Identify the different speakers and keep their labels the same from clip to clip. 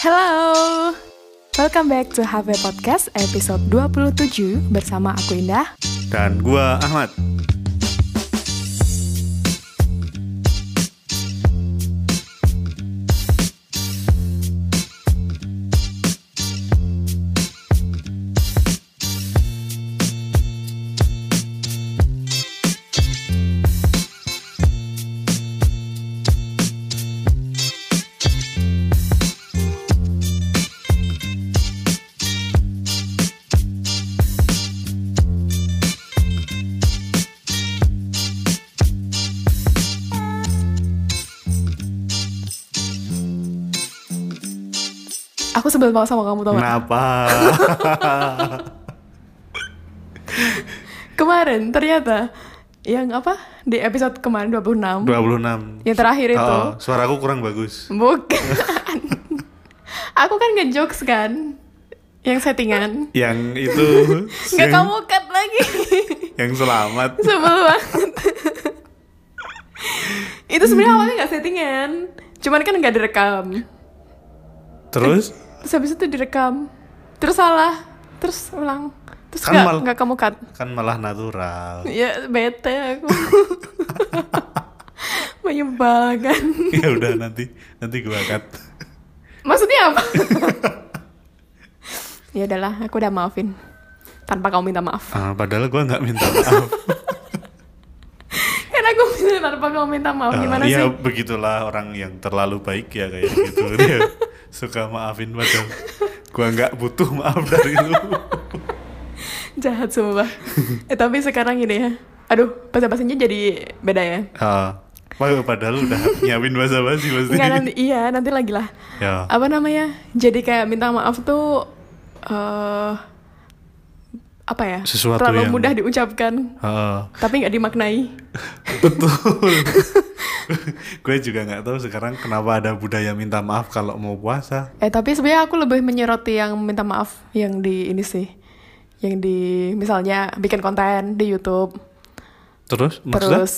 Speaker 1: Hello. Welcome back to HV Podcast episode 27 bersama aku Indah.
Speaker 2: Dan gua Ahmad.
Speaker 1: Aku sebel banget sama kamu
Speaker 2: Nah.
Speaker 1: tau gak?
Speaker 2: Kenapa?
Speaker 1: Kemarin ternyata yang apa di episode kemarin 26
Speaker 2: 26.
Speaker 1: yang terakhir Iya, itu
Speaker 2: Oh, suaraku kurang bagus.
Speaker 1: bukan. aku kan ngejokes kan yang settingan.
Speaker 2: Yang itu
Speaker 1: Nggak
Speaker 2: yang,
Speaker 1: kamu cut lagi.
Speaker 2: yang selamat.
Speaker 1: sebel banget. itu sebenarnya awalnya nggak settingan, cuman kan nggak direkam.
Speaker 2: Terus
Speaker 1: terus habis itu direkam terus salah terus ulang terus
Speaker 2: Kan
Speaker 1: nggak
Speaker 2: mal-
Speaker 1: nggak kamu cut
Speaker 2: kan malah natural.
Speaker 1: ya bete aku menyebalkan
Speaker 2: ya udah nanti nanti gua cut.
Speaker 1: maksudnya apa ya udahlah aku udah maafin tanpa kamu minta maaf
Speaker 2: Ah, padahal gua nggak minta maaf.
Speaker 1: kan aku minta tanpa kamu minta maaf
Speaker 2: Ah,
Speaker 1: Oh, gimana
Speaker 2: ya
Speaker 1: sih
Speaker 2: begitulah orang yang terlalu baik ya kayak gitu. Dia suka maafin padahal gua nggak butuh maaf dari lu.
Speaker 1: jahat sumpah eh tapi sekarang ini ya aduh bahasa-bahasanya jadi beda ya
Speaker 2: Ah, padahal udah nyiapin basa-basi pasti.
Speaker 1: Enggak nanti iya nanti lagi lah
Speaker 2: Ya.
Speaker 1: apa namanya jadi kayak minta maaf tuh eh apa ya
Speaker 2: Sesuatu
Speaker 1: terlalu
Speaker 2: yang-
Speaker 1: mudah diucapkan
Speaker 2: Ah.
Speaker 1: tapi nggak dimaknai
Speaker 2: Betul. gue juga nggak tahu sekarang kenapa ada budaya minta maaf kalau mau puasa.
Speaker 1: eh tapi sebenarnya aku lebih menyoroti yang minta maaf yang di ini sih yang di misalnya bikin konten di YouTube
Speaker 2: Terus?
Speaker 1: terus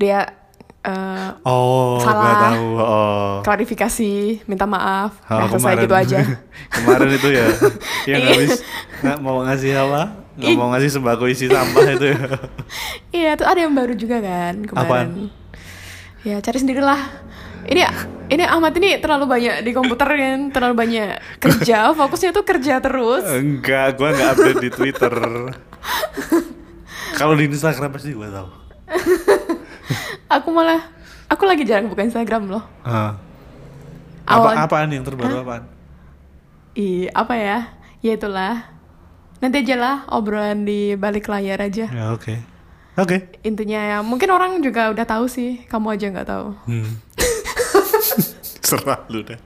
Speaker 1: dia eh,
Speaker 2: Oh, gue
Speaker 1: Salah.
Speaker 2: tahu. Oh.
Speaker 1: klarifikasi minta maaf
Speaker 2: Oh,
Speaker 1: nah, selesai gitu aja
Speaker 2: kemarin itu ya yang
Speaker 1: Iya.
Speaker 2: habis nggak mau ngasih apa nggak
Speaker 1: Ih.
Speaker 2: mau ngasih sembako isi sampah itu ya
Speaker 1: Iya, tuh ada yang baru juga kan kemarin.
Speaker 2: Apaan?
Speaker 1: Ya, cari sendirilah. Ini ini Ahmad ini terlalu banyak di komputer kan, terlalu banyak kerja, fokusnya tuh kerja terus.
Speaker 2: Eh. enggak gue nggak update di twitter kalau di instagram pasti gue tahu
Speaker 1: Aku malah aku lagi jarang buka Instagram loh.
Speaker 2: Ah. apa
Speaker 1: Awal
Speaker 2: apaan yang terbaru apaan
Speaker 1: Ih, apa ya? Ya itulah. Nanti aja lah obrolan di balik layar aja.
Speaker 2: ya oke oke
Speaker 1: Intinya ya, mungkin orang juga udah tahu sih, kamu aja nggak tahu.
Speaker 2: Hmm. Serah lu deh.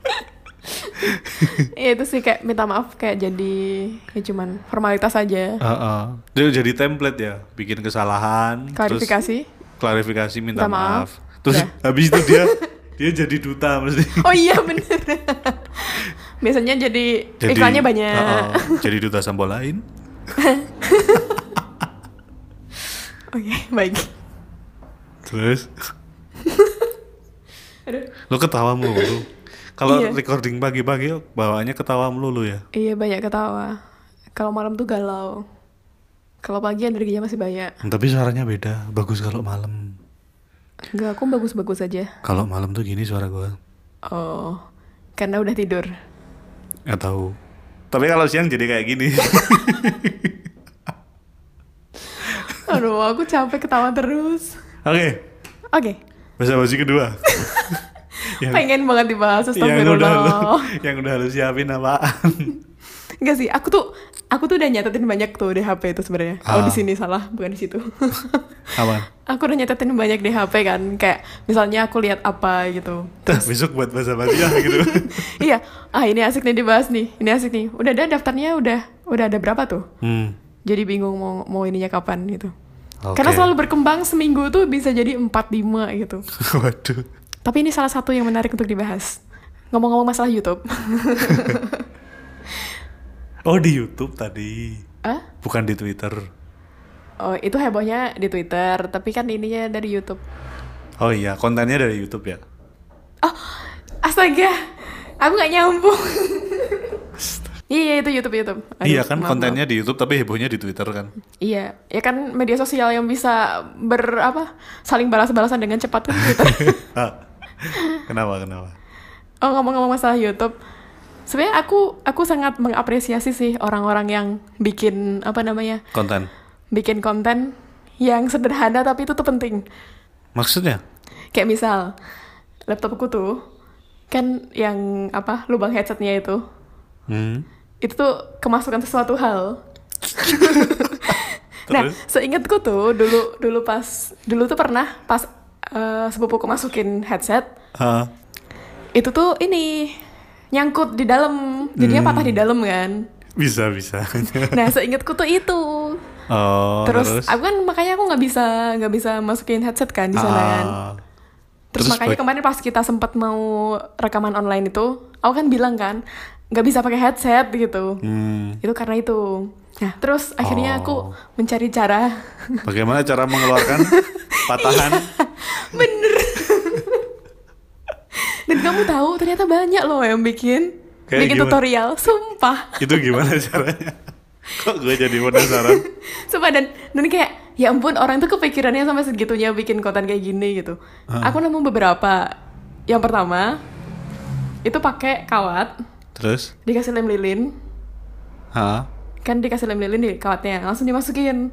Speaker 1: Iya itu sih kayak minta maaf kayak jadi ya cuman formalitas aja.
Speaker 2: Jadi, jadi template ya, bikin kesalahan, terus
Speaker 1: Klarifikasi.
Speaker 2: klarifikasi minta
Speaker 1: Minta maaf.
Speaker 2: maaf. Terus
Speaker 1: Udah.
Speaker 2: habis itu dia dia jadi duta mesti.
Speaker 1: Oh iya bener Biasanya jadi,
Speaker 2: Jadi,
Speaker 1: iklannya banyak
Speaker 2: Uh-uh, jadi duta sambal lain.
Speaker 1: Oke baik
Speaker 2: Terus
Speaker 1: Aduh.
Speaker 2: lu ketawa mulu. Kalau
Speaker 1: Iya.
Speaker 2: recording pagi-pagi bawaannya ketawa melulu ya.
Speaker 1: Iya banyak ketawa Kalau malam tuh galau Kalau pagi energinya masih banyak
Speaker 2: Tapi suaranya beda, bagus kalau malam.
Speaker 1: Enggak aku bagus-bagus aja
Speaker 2: Kalau malam tuh gini suara gua.
Speaker 1: Oh Karena udah tidur
Speaker 2: Nggak tahu. Tapi kalau siang jadi kayak gini.
Speaker 1: Aduh aku capek ketawa terus
Speaker 2: Oke.
Speaker 1: Oke
Speaker 2: Bahasa basi kedua. yang,
Speaker 1: Pengen banget dibahas
Speaker 2: yang Ya. udah lu,
Speaker 1: Astagfirullah
Speaker 2: yang udah lu siapin apaan?
Speaker 1: Enggak sih aku tuh Aku tuh udah nyatetin banyak tuh di HP itu sebenarnya. Oh
Speaker 2: Ah.
Speaker 1: di sini salah bukan di situ
Speaker 2: Apaan?
Speaker 1: Aku udah nyatetin banyak di HP kan, kayak misalnya aku lihat apa gitu.
Speaker 2: Tuh, besok buat bahasa basi ya gitu.
Speaker 1: iya, ah ini asik nih dibahas nih, ini asik nih. Udah ada daftarnya, udah udah ada berapa tuh?
Speaker 2: Hmm.
Speaker 1: Jadi bingung mau mau ininya kapan gitu.
Speaker 2: Oke.
Speaker 1: Karena selalu berkembang seminggu tuh bisa jadi 4-5 gitu.
Speaker 2: Waduh.
Speaker 1: Tapi ini salah satu yang menarik untuk dibahas. Ngomong-ngomong masalah YouTube.
Speaker 2: Oh di YouTube tadi,
Speaker 1: ah?
Speaker 2: bukan di Twitter.
Speaker 1: Oh, itu hebohnya di Twitter, tapi kan ininya dari YouTube.
Speaker 2: Oh iya, kontennya dari YouTube ya.
Speaker 1: Astaga, aku nggak nyambung. Iya, iya, itu YouTube YouTube. Aduh,
Speaker 2: iya kan
Speaker 1: maaf,
Speaker 2: kontennya di YouTube tapi hebohnya di Twitter kan.
Speaker 1: maaf. Iya, ya kan media sosial yang bisa ber apa saling balas-balasan dengan cepat kan Twitter.
Speaker 2: Ah. kenapa kenapa?
Speaker 1: oh ngomong-ngomong masalah YouTube, sebenarnya aku aku sangat mengapresiasi sih orang-orang yang bikin apa namanya
Speaker 2: Konten.
Speaker 1: bikin konten yang sederhana tapi itu tuh penting.
Speaker 2: Maksudnya?
Speaker 1: Kayak misal laptopku tuh kan yang apa lubang headsetnya itu
Speaker 2: Hmm.
Speaker 1: itu tuh kemasukan sesuatu hal. nah,
Speaker 2: Terus?
Speaker 1: seingatku tuh dulu dulu pas dulu tuh pernah pas eh, sepupuku masukin headset
Speaker 2: Ah.
Speaker 1: itu tuh ini nyangkut di dalam jadinya
Speaker 2: Hmm.
Speaker 1: patah di dalam kan.
Speaker 2: bisa bisa.
Speaker 1: Nah, seingatku tuh itu.
Speaker 2: oh,
Speaker 1: terus,
Speaker 2: terus,
Speaker 1: aku kan makanya aku nggak bisa nggak bisa masukin headset kan di sana kan.
Speaker 2: Ah.
Speaker 1: Terus,
Speaker 2: Terus
Speaker 1: makanya
Speaker 2: baik-
Speaker 1: kemarin pas kita sempat mau rekaman online itu, aku kan bilang kan nggak bisa pakai headset gitu.
Speaker 2: Hmm.
Speaker 1: Itu karena itu. Nah, terus akhirnya aku
Speaker 2: Oh.
Speaker 1: mencari cara.
Speaker 2: Bagaimana cara mengeluarkan patahan?
Speaker 1: Bener. Dan kamu tahu ternyata banyak loh yang bikin
Speaker 2: Kayak
Speaker 1: bikin
Speaker 2: gimana?
Speaker 1: tutorial, sumpah.
Speaker 2: Itu gimana caranya? Kok gue jadi penasaran?
Speaker 1: Sumpah dan dan kayak ya ampun orang tuh kepikirannya sampai segitunya bikin konten kayak gini gitu. Aku nemu beberapa. Yang pertama itu pakai kawat
Speaker 2: Terus?
Speaker 1: dikasih lem lilin
Speaker 2: Hah?
Speaker 1: kan dikasih lem lilin di kawatnya langsung dimasukin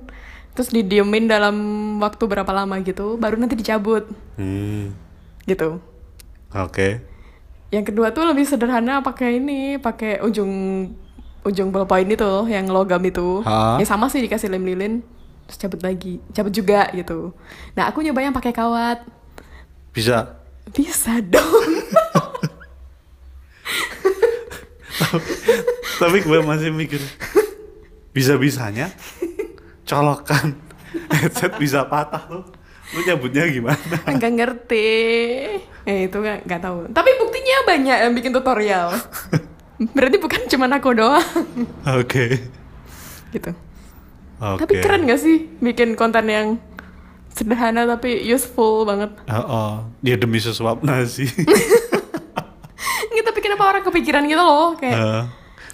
Speaker 1: terus didiemin dalam waktu berapa lama gitu baru nanti dicabut
Speaker 2: Hmm.
Speaker 1: gitu
Speaker 2: Oke.
Speaker 1: yang kedua tuh lebih sederhana pakai ini pakai ujung ujung ballpoint itu yang logam itu
Speaker 2: Ha?
Speaker 1: ya sama sih dikasih lem lilin terus cabut lagi cabut juga gitu nah aku nyoba yang pakai kawat
Speaker 2: Bisa.
Speaker 1: bisa dong
Speaker 2: Tapi gue masih mikir bisa-bisanya colokan headset bisa patah tuh. Lu nyabutnya gimana?
Speaker 1: nggak ngerti ya itu nggak nggak tahu tapi buktinya banyak yang bikin tutorial berarti bukan cuma aku doang
Speaker 2: Oke.
Speaker 1: gitu
Speaker 2: Oke.
Speaker 1: Tapi keren gak sih bikin konten yang sederhana tapi useful banget?
Speaker 2: Oh, oh. dia demi sesuap nasi.
Speaker 1: Nggak, tapi kenapa orang kepikiran gitu loh? Kayak,
Speaker 2: Eh,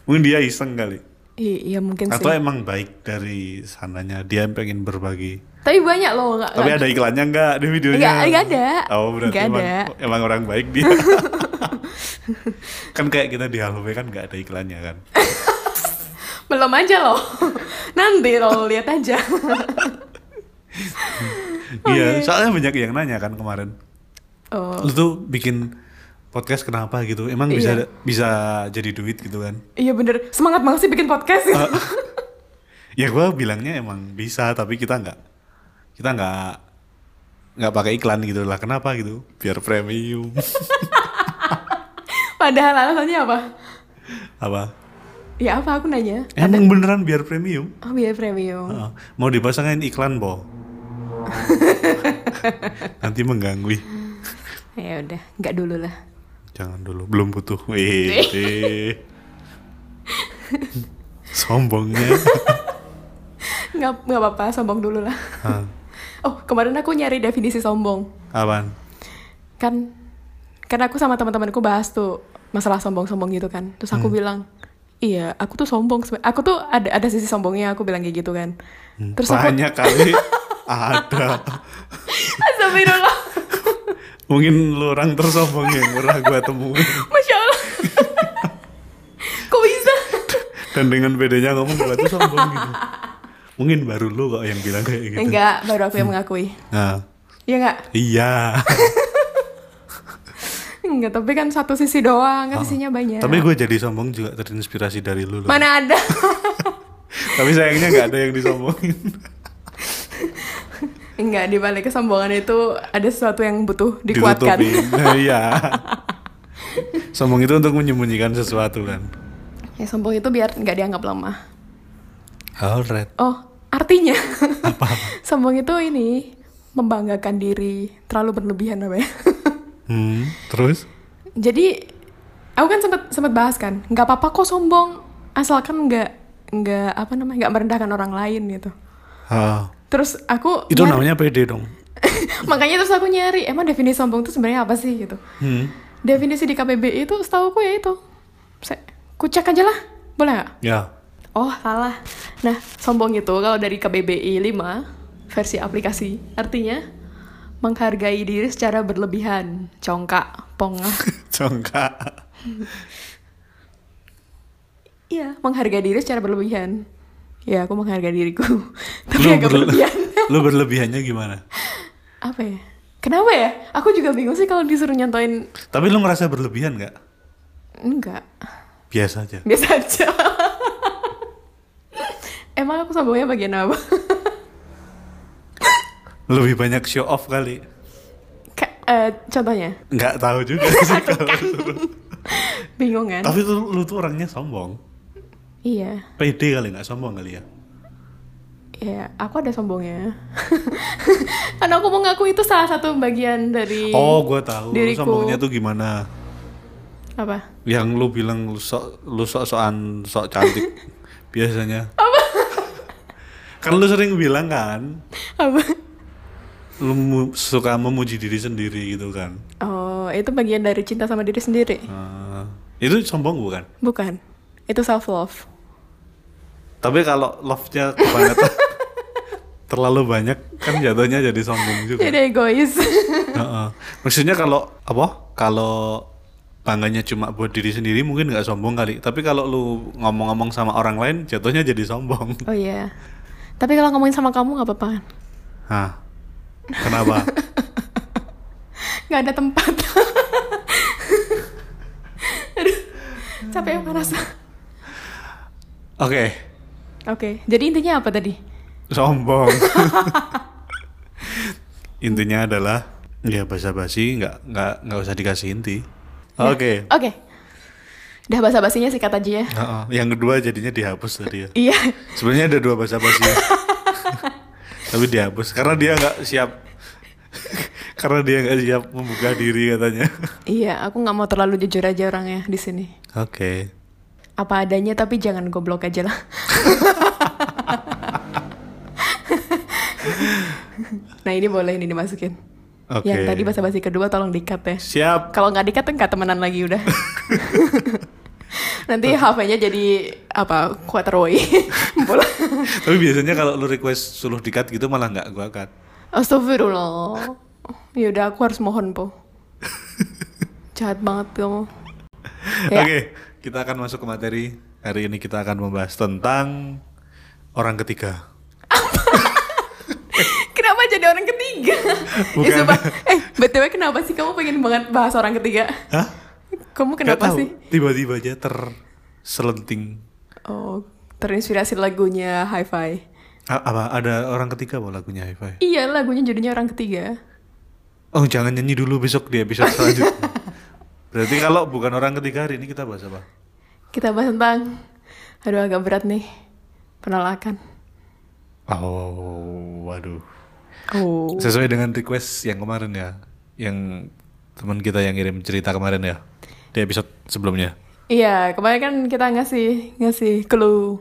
Speaker 2: mungkin dia iseng kali.
Speaker 1: "Ih, iya mungkin sih.
Speaker 2: Eh. Atau emang baik dari sananya dia pengen berbagi.
Speaker 1: Tapi banyak loh. Gak,
Speaker 2: Tapi ada iklannya nggak di videonya?
Speaker 1: Nggak, nggak ada.
Speaker 2: Oh berarti
Speaker 1: Nggak
Speaker 2: emang,
Speaker 1: ada.
Speaker 2: emang orang baik dia. kan kayak kita di Halo kan nggak ada iklannya kan.
Speaker 1: Belum aja loh. Nanti lo lihat aja.
Speaker 2: Iya, soalnya banyak yang nanya kan kemarin.
Speaker 1: Oh,
Speaker 2: Lu tuh bikin podcast kenapa gitu? Emang bisa
Speaker 1: Iya.
Speaker 2: bisa jadi duit gitu kan?
Speaker 1: iya bener. Semangat banget sih bikin podcast.
Speaker 2: Eh, ya gua bilangnya emang bisa, tapi kita nggak kita nggak nggak pakai iklan gitu lah. Kenapa gitu? Biar premium
Speaker 1: Padahal alasannya apa?
Speaker 2: apa?
Speaker 1: Ya apa aku nanya?
Speaker 2: Emang beneran biar premium?
Speaker 1: Oh biar premium.
Speaker 2: Heeh. mau dipasangin iklan, Bo. Nanti mengganggu. Ih, Eh.
Speaker 1: Ya udah, nggak dulu lah.
Speaker 2: Jangan dulu, belum butuh. Wih, wih. Sombongnya.
Speaker 1: Nggak nggak apa-apa, sombong dulu lah.
Speaker 2: Hah,
Speaker 1: Oh kemarin aku nyari definisi sombong.
Speaker 2: Apaan?
Speaker 1: kan kan aku sama teman-temanku bahas tuh masalah sombong-sombong gitu kan terus
Speaker 2: Hmm.
Speaker 1: aku bilang iya aku tuh sombong sebe- aku tuh ada ada sisi sombongnya aku bilang kayak gitu kan terus aku
Speaker 2: Hmm, Banyak kali ada.
Speaker 1: Astagfirullah.
Speaker 2: Mungkin lu orang tersombong yang pernah gua temuin.
Speaker 1: masya allah kok bisa
Speaker 2: Gitu. Dan dengan bedanya ngomong gua tuh sombong gitu. Mungkin baru lu kok yang bilang kayak gitu.
Speaker 1: enggak baru aku yang mengakui
Speaker 2: Nah,
Speaker 1: ya enggak
Speaker 2: iya.
Speaker 1: enggak tapi kan satu sisi doang kan sisinya banyak
Speaker 2: Ah, Tapi gue jadi sombong juga terinspirasi dari lu. loh.
Speaker 1: mana ada
Speaker 2: Tapi sayangnya nggak ada yang disombongin.
Speaker 1: enggak di balik kesombongan itu ada sesuatu yang butuh dikuatkan
Speaker 2: Ditutupin. Nah, iya. Sombong itu untuk menyembunyikan sesuatu kan.
Speaker 1: ya sombong itu biar nggak dianggap lemah
Speaker 2: Alright.
Speaker 1: Oh, artinya
Speaker 2: Apa?
Speaker 1: sombong itu ini membanggakan diri terlalu berlebihan ya? namanya.
Speaker 2: Hmm, terus?
Speaker 1: Jadi aku kan sempat sempat bahas kan, nggak apa-apa kok sombong asalkan nggak nggak apa namanya nggak merendahkan orang lain gitu.
Speaker 2: Ah,
Speaker 1: Terus aku
Speaker 2: itu
Speaker 1: nyari-
Speaker 2: namanya PD dong.
Speaker 1: makanya terus aku nyari emang definisi sombong itu sebenarnya apa sih gitu.
Speaker 2: Hmm.
Speaker 1: Definisi di KBBI itu setahu aku ya itu. Se- Kucek aja lah. Boleh nggak?
Speaker 2: Ya.
Speaker 1: Oh, salah. Nah, sombong itu kalau dari KBBI 5 versi aplikasi. Artinya menghargai diri secara berlebihan, congkak, pongah.
Speaker 2: Congkak.
Speaker 1: Iya, menghargai diri secara berlebihan. Ya, aku menghargai diriku. Tapi
Speaker 2: Lu
Speaker 1: agak
Speaker 2: berle-
Speaker 1: berlebihan.
Speaker 2: lu berlebihannya gimana?
Speaker 1: Apa ya? Kenapa ya? Aku juga bingung sih kalau disuruh nyontoin
Speaker 2: Tapi lu ngerasa berlebihan nggak?
Speaker 1: enggak.
Speaker 2: Biasa aja.
Speaker 1: Biasa aja. Emang aku sombongnya bagian apa?
Speaker 2: Lebih banyak show off kali.
Speaker 1: Ka- eh, contohnya,
Speaker 2: Nggak tahu juga sih kalau suruh.
Speaker 1: bingung kan?
Speaker 2: Tapi tuh, lu tuh orangnya sombong.
Speaker 1: Iya,
Speaker 2: PD kali nggak sombong kali ya.
Speaker 1: ya aku ada sombongnya. Karena aku mau ngaku itu salah satu bagian dari
Speaker 2: Oh, gua tahu. Lu
Speaker 1: diriku.
Speaker 2: sombongnya tuh gimana?
Speaker 1: apa?
Speaker 2: Yang lu bilang lu sok lu sok-sokan sok cantik biasanya. Kan lu sering bilang kan,
Speaker 1: Apa?
Speaker 2: lu mu- suka memuji diri sendiri gitu kan.
Speaker 1: Oh, itu bagian dari cinta sama diri sendiri,
Speaker 2: Eh, itu sombong bukan?
Speaker 1: bukan? Itu self love.
Speaker 2: Tapi kalau love-nya kebangetan terlalu banyak kan jatuhnya jadi sombong juga.
Speaker 1: Jadi egois.
Speaker 2: Heeh. Maksudnya kalau apa? Kalau bangganya cuma buat diri sendiri mungkin nggak sombong kali. Tapi kalau lu ngomong-ngomong sama orang lain jatuhnya jadi sombong.
Speaker 1: oh iya. Tapi kalau ngomongin sama kamu nggak apa-apa kan?
Speaker 2: Hah. Kenapa?
Speaker 1: Nggak ada tempat. Aduh, capek ya, merasa.
Speaker 2: Oke,
Speaker 1: Oke, jadi intinya apa tadi?
Speaker 2: sombong. Intinya adalah ya basa-basi nggak nggak nggak usah dikasih inti. Oke.
Speaker 1: Ya. Oke. Udah basa-basinya sih kata aja ya.
Speaker 2: Heeh. Yang kedua jadinya dihapus tadi ya.
Speaker 1: Iya.
Speaker 2: Sebenarnya ada dua bahasa basi. Tapi dihapus karena dia nggak siap. karena dia nggak siap membuka diri katanya.
Speaker 1: Iya, aku nggak mau terlalu jujur aja orangnya di sini.
Speaker 2: Oke.
Speaker 1: Apa adanya tapi jangan goblok aja lah. nah ini boleh ini dimasukin.
Speaker 2: Oke.
Speaker 1: Yang tadi basa-basi kedua tolong dikat ya.
Speaker 2: Siap.
Speaker 1: Kalau nggak dikat nggak temenan lagi udah. Nanti HP-nya jadi apa Quatroy. Bola.
Speaker 2: Tapi biasanya kalau lu request suruh dikat gitu malah nggak gua cut.
Speaker 1: Astagfirullah. Ya udah aku harus mohon po. Jahat banget kamu.
Speaker 2: Oke,
Speaker 1: Ya.
Speaker 2: kita akan masuk ke materi. Hari ini kita akan membahas tentang orang ketiga.
Speaker 1: Kenapa jadi orang ketiga?
Speaker 2: Bukan.
Speaker 1: Eh, sumpah. eh, BTW kenapa sih kamu pengen banget bahas orang ketiga?
Speaker 2: Hah?
Speaker 1: Kamu
Speaker 2: Nggak
Speaker 1: kenapa
Speaker 2: tahu.
Speaker 1: sih?
Speaker 2: Tiba-tiba aja terselenting.
Speaker 1: Oh, terinspirasi lagunya Hi-Fi.
Speaker 2: A- apa ada orang ketiga mau lagunya hi
Speaker 1: Iya, lagunya jadinya orang ketiga.
Speaker 2: Oh jangan nyanyi dulu besok di episode selanjutnya. Berarti kalau bukan orang ketiga hari ini kita bahas apa?
Speaker 1: Kita bahas tentang aduh agak berat nih. Penolakan.
Speaker 2: Oh, waduh.
Speaker 1: Oh.
Speaker 2: Sesuai dengan request yang kemarin ya, yang teman kita yang kirim cerita kemarin ya di episode sebelumnya.
Speaker 1: Iya, kemarin kan kita ngasih ngasih clue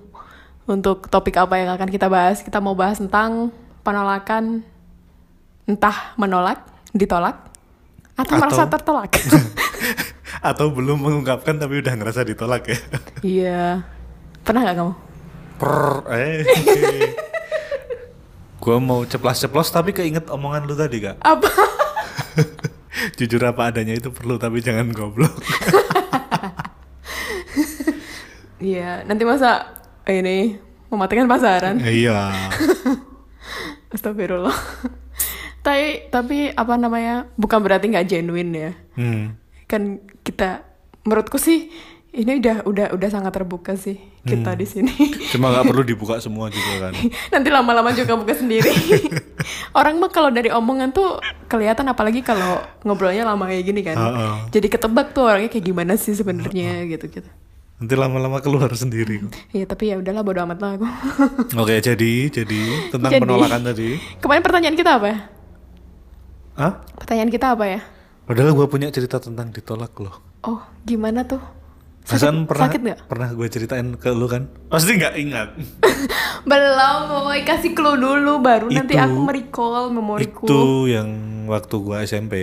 Speaker 1: untuk topik apa yang akan kita bahas. Kita mau bahas tentang penolakan entah menolak, ditolak atau,
Speaker 2: Atau-
Speaker 1: merasa tertolak.
Speaker 2: Atau belum mengungkapkan tapi udah ngerasa ditolak ya.
Speaker 1: Iya. Pernah nggak kamu?
Speaker 2: Per, eh. Gua mau ceplas-ceplos tapi keinget omongan lu tadi kak.
Speaker 1: Apa?
Speaker 2: Jujur apa adanya itu perlu tapi jangan goblok.
Speaker 1: Iya, nanti masa ini mematikan pasaran.
Speaker 2: iya.
Speaker 1: Astagfirullah. tapi tapi apa namanya? Bukan berarti nggak genuine ya.
Speaker 2: Hmm.
Speaker 1: kan kita menurutku sih ini udah udah udah sangat terbuka sih
Speaker 2: Hmm.
Speaker 1: kita di sini
Speaker 2: Cuma nggak perlu dibuka semua juga kan.
Speaker 1: nanti lama-lama juga buka sendiri orang mah kalau dari omongan tuh kelihatan apalagi kalau ngobrolnya lama kayak gini kan
Speaker 2: Heeh.
Speaker 1: jadi ketebak tuh orangnya kayak gimana sih sebenarnya gitu gitu
Speaker 2: Nanti lama-lama keluar sendiri. kok.
Speaker 1: ya tapi ya udahlah bodo amat lah aku
Speaker 2: Oke, jadi jadi tentang
Speaker 1: Jadi.
Speaker 2: penolakan tadi.
Speaker 1: kemarin pertanyaan kita apa ya
Speaker 2: Hah?
Speaker 1: pertanyaan kita apa ya
Speaker 2: Padahal gue punya cerita tentang ditolak loh.
Speaker 1: oh gimana tuh
Speaker 2: Hasan pernah
Speaker 1: sakit nggak
Speaker 2: pernah gue ceritain ke lu kan? Pasti nggak ingat.
Speaker 1: belum boy kasih clue dulu baru nanti
Speaker 2: Itu-
Speaker 1: aku merecall memoriku
Speaker 2: Itu yang waktu gue SMP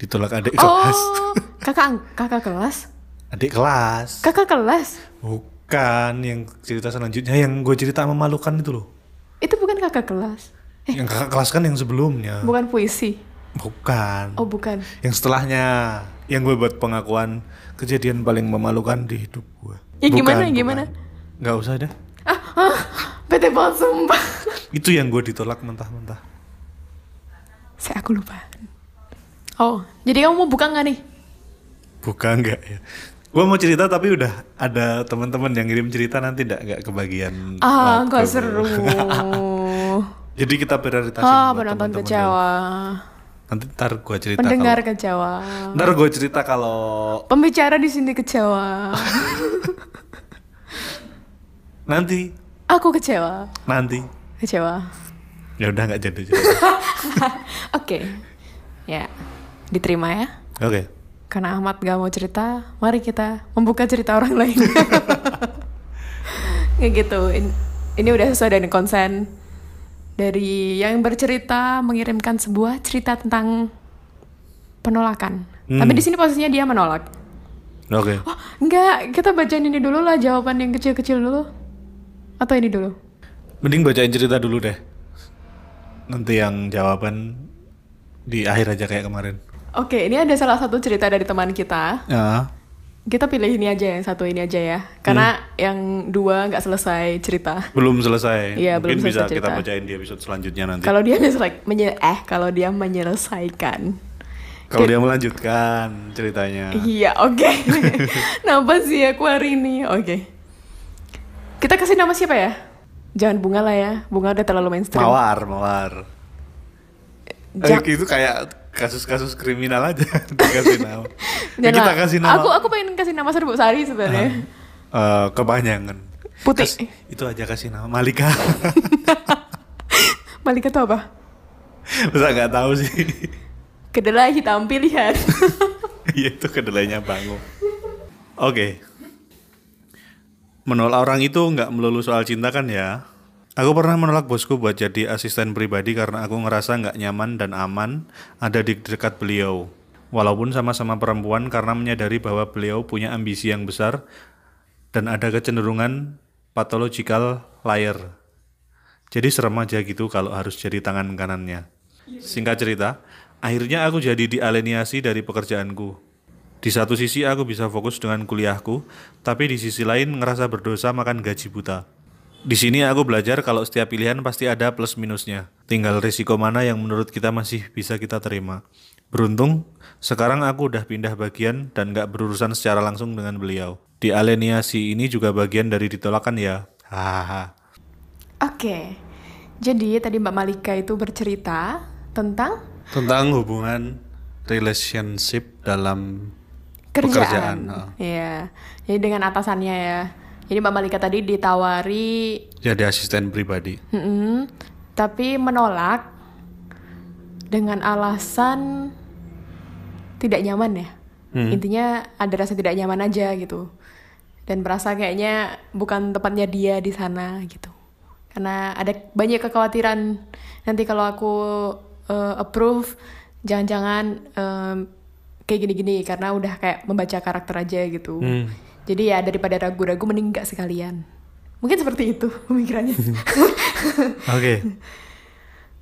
Speaker 2: ditolak adik kelas.
Speaker 1: Oh, kakak ang- kakak kelas?
Speaker 2: Adik kelas.
Speaker 1: Kakak kelas?
Speaker 2: Bu- Bukan yang cerita selanjutnya yang gue cerita memalukan itu loh.
Speaker 1: Itu bukan kakak kelas.
Speaker 2: Yang kakak kelas kan yang sebelumnya.
Speaker 1: Bukan puisi.
Speaker 2: Bukan.
Speaker 1: Oh, bukan.
Speaker 2: Yang setelahnya yang gue buat pengakuan kejadian paling memalukan di hidup gue.
Speaker 1: Ya, gimana, gimana?
Speaker 2: bukan. Nggak usah deh.
Speaker 1: Ah, Bete banget sumpah.
Speaker 2: Itu yang gue ditolak mentah-mentah.
Speaker 1: Saya aku lupa. Oh, jadi kamu mau buka nggak nih?
Speaker 2: Bukan nggak ya. Gue mau cerita tapi udah ada teman-teman yang ngirim cerita nanti nggak nggak kebagian.
Speaker 1: Ah,
Speaker 2: waktu.
Speaker 1: nggak seru.
Speaker 2: Jadi kita prioritasin
Speaker 1: ah,
Speaker 2: buat
Speaker 1: penonton
Speaker 2: teman-teman
Speaker 1: kecewa.
Speaker 2: dulu. Nanti ntar gue cerita.
Speaker 1: Pendengar
Speaker 2: kalau-
Speaker 1: kecewa.
Speaker 2: Ntar gue cerita kalau
Speaker 1: Pembicara di sini kecewa.
Speaker 2: nanti
Speaker 1: aku kecewa.
Speaker 2: nanti
Speaker 1: Kecewa.
Speaker 2: ya udah nggak jadi. cerita.
Speaker 1: Oke. Ya. Diterima ya.
Speaker 2: Oke.
Speaker 1: Karena Ahmad gak mau cerita, mari kita membuka cerita orang lain. Kayak gitu. In- Ini udah sesuai dengan konsen dari yang bercerita mengirimkan sebuah cerita tentang penolakan.
Speaker 2: Hmm.
Speaker 1: Tapi di sini posisinya dia menolak.
Speaker 2: Oke.
Speaker 1: Oh, enggak, kita bacain ini dulu lah jawaban yang kecil-kecil dulu. Atau ini dulu?
Speaker 2: Mending bacain cerita dulu deh. Nanti yang jawaban di akhir aja kayak kemarin.
Speaker 1: Oke, ini ada salah satu cerita dari teman kita.
Speaker 2: Ya.
Speaker 1: Kita pilih ini aja yang satu ini aja ya. Karena yang dua nggak selesai cerita.
Speaker 2: Belum selesai.
Speaker 1: Iya, belum
Speaker 2: Mungkin
Speaker 1: selesai
Speaker 2: bisa kita
Speaker 1: cerita.
Speaker 2: bacain di episode selanjutnya nanti.
Speaker 1: Kalau dia menyelesaikan, eh kalau dia menyelesaikan.
Speaker 2: Kalau dia melanjutkan ceritanya.
Speaker 1: Iya, oke. Kenapa sih aku hari ini? Oke. Kita kasih nama siapa ya? Jangan bunga lah ya. Bunga udah terlalu mainstream.
Speaker 2: Mawar, mawar. Eh,
Speaker 1: Jak-
Speaker 2: itu kayak kasus-kasus kriminal aja dikasih nama.
Speaker 1: Jangan
Speaker 2: Ya, kita
Speaker 1: lah.
Speaker 2: kasih nama. Nah,
Speaker 1: Aku aku pengen kasih nama Serbu Sari sebenarnya.
Speaker 2: Eh, kepanjangan.
Speaker 1: Putih.
Speaker 2: Kas- itu aja kasih nama Malika. Ah.
Speaker 1: Malika tuh apa?
Speaker 2: Masa nggak tahu sih.
Speaker 1: Kedelai hitam pilihan.
Speaker 2: Iya itu kedelainya bangun. Oke. Menolak orang itu nggak melulu soal cinta kan ya? Aku pernah menolak bosku buat jadi asisten pribadi karena aku ngerasa nggak nyaman dan aman ada di dekat beliau. Walaupun sama-sama perempuan karena menyadari bahwa beliau punya ambisi yang besar dan ada kecenderungan pathological liar. Jadi serem aja gitu kalau harus jadi tangan kanannya. Singkat cerita, akhirnya aku jadi dialeniasi dari pekerjaanku. Di satu sisi aku bisa fokus dengan kuliahku, tapi di sisi lain ngerasa berdosa makan gaji buta. Di sini aku belajar kalau setiap pilihan pasti ada plus minusnya. Tinggal risiko mana yang menurut kita masih bisa kita terima. Beruntung, sekarang aku udah pindah bagian dan gak berurusan secara langsung dengan beliau. Dialeniasi ini juga bagian dari ditolakan ya. Hahaha.
Speaker 1: Oke. Jadi tadi Mbak Malika itu bercerita tentang
Speaker 2: tentang hubungan relationship dalam Pekerjaan, ah.
Speaker 1: kerjaan.
Speaker 2: heeh.
Speaker 1: Iya. Jadi dengan atasannya ya. Jadi Mbak Malika tadi ditawari,
Speaker 2: jadi asisten pribadi.
Speaker 1: mm-mm, tapi menolak dengan alasan tidak nyaman ya. Intinya ada rasa tidak nyaman aja gitu. Dan merasa kayaknya bukan tempatnya dia di sana gitu. Karena ada banyak kekhawatiran nanti kalau aku eh, approve jangan-jangan em, kayak gini-gini karena udah kayak membaca karakter aja gitu. Jadi ya daripada ragu-ragu mending nggak sekalian. Mungkin seperti itu pemikirannya.
Speaker 2: Oke.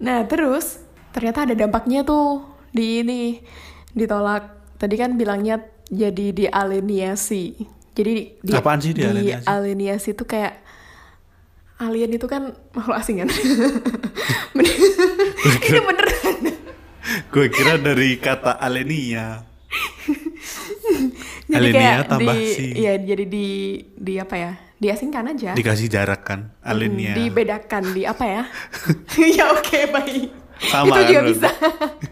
Speaker 1: Nah, terus ternyata ada dampaknya tuh di ini ditolak. Tadi kan bilangnya jadi dialeniasi. Jadi di, di-
Speaker 2: Apaan sih dialeniasi?
Speaker 1: dialeniasi itu kayak alien itu kan makhluk asing kan. Bener- ini beneran.
Speaker 2: Gue kira dari kata alenia.
Speaker 1: Jadi
Speaker 2: Alenia
Speaker 1: kayak
Speaker 2: tambah
Speaker 1: di,
Speaker 2: si.
Speaker 1: Iya, jadi di di apa ya? Diasingkan aja.
Speaker 2: Dikasih jarak kan? Alenia.
Speaker 1: Hmm, dibedakan Ya. di apa ya? ya oke baik.
Speaker 2: Sama
Speaker 1: itu
Speaker 2: kan
Speaker 1: juga
Speaker 2: berarti?
Speaker 1: bisa.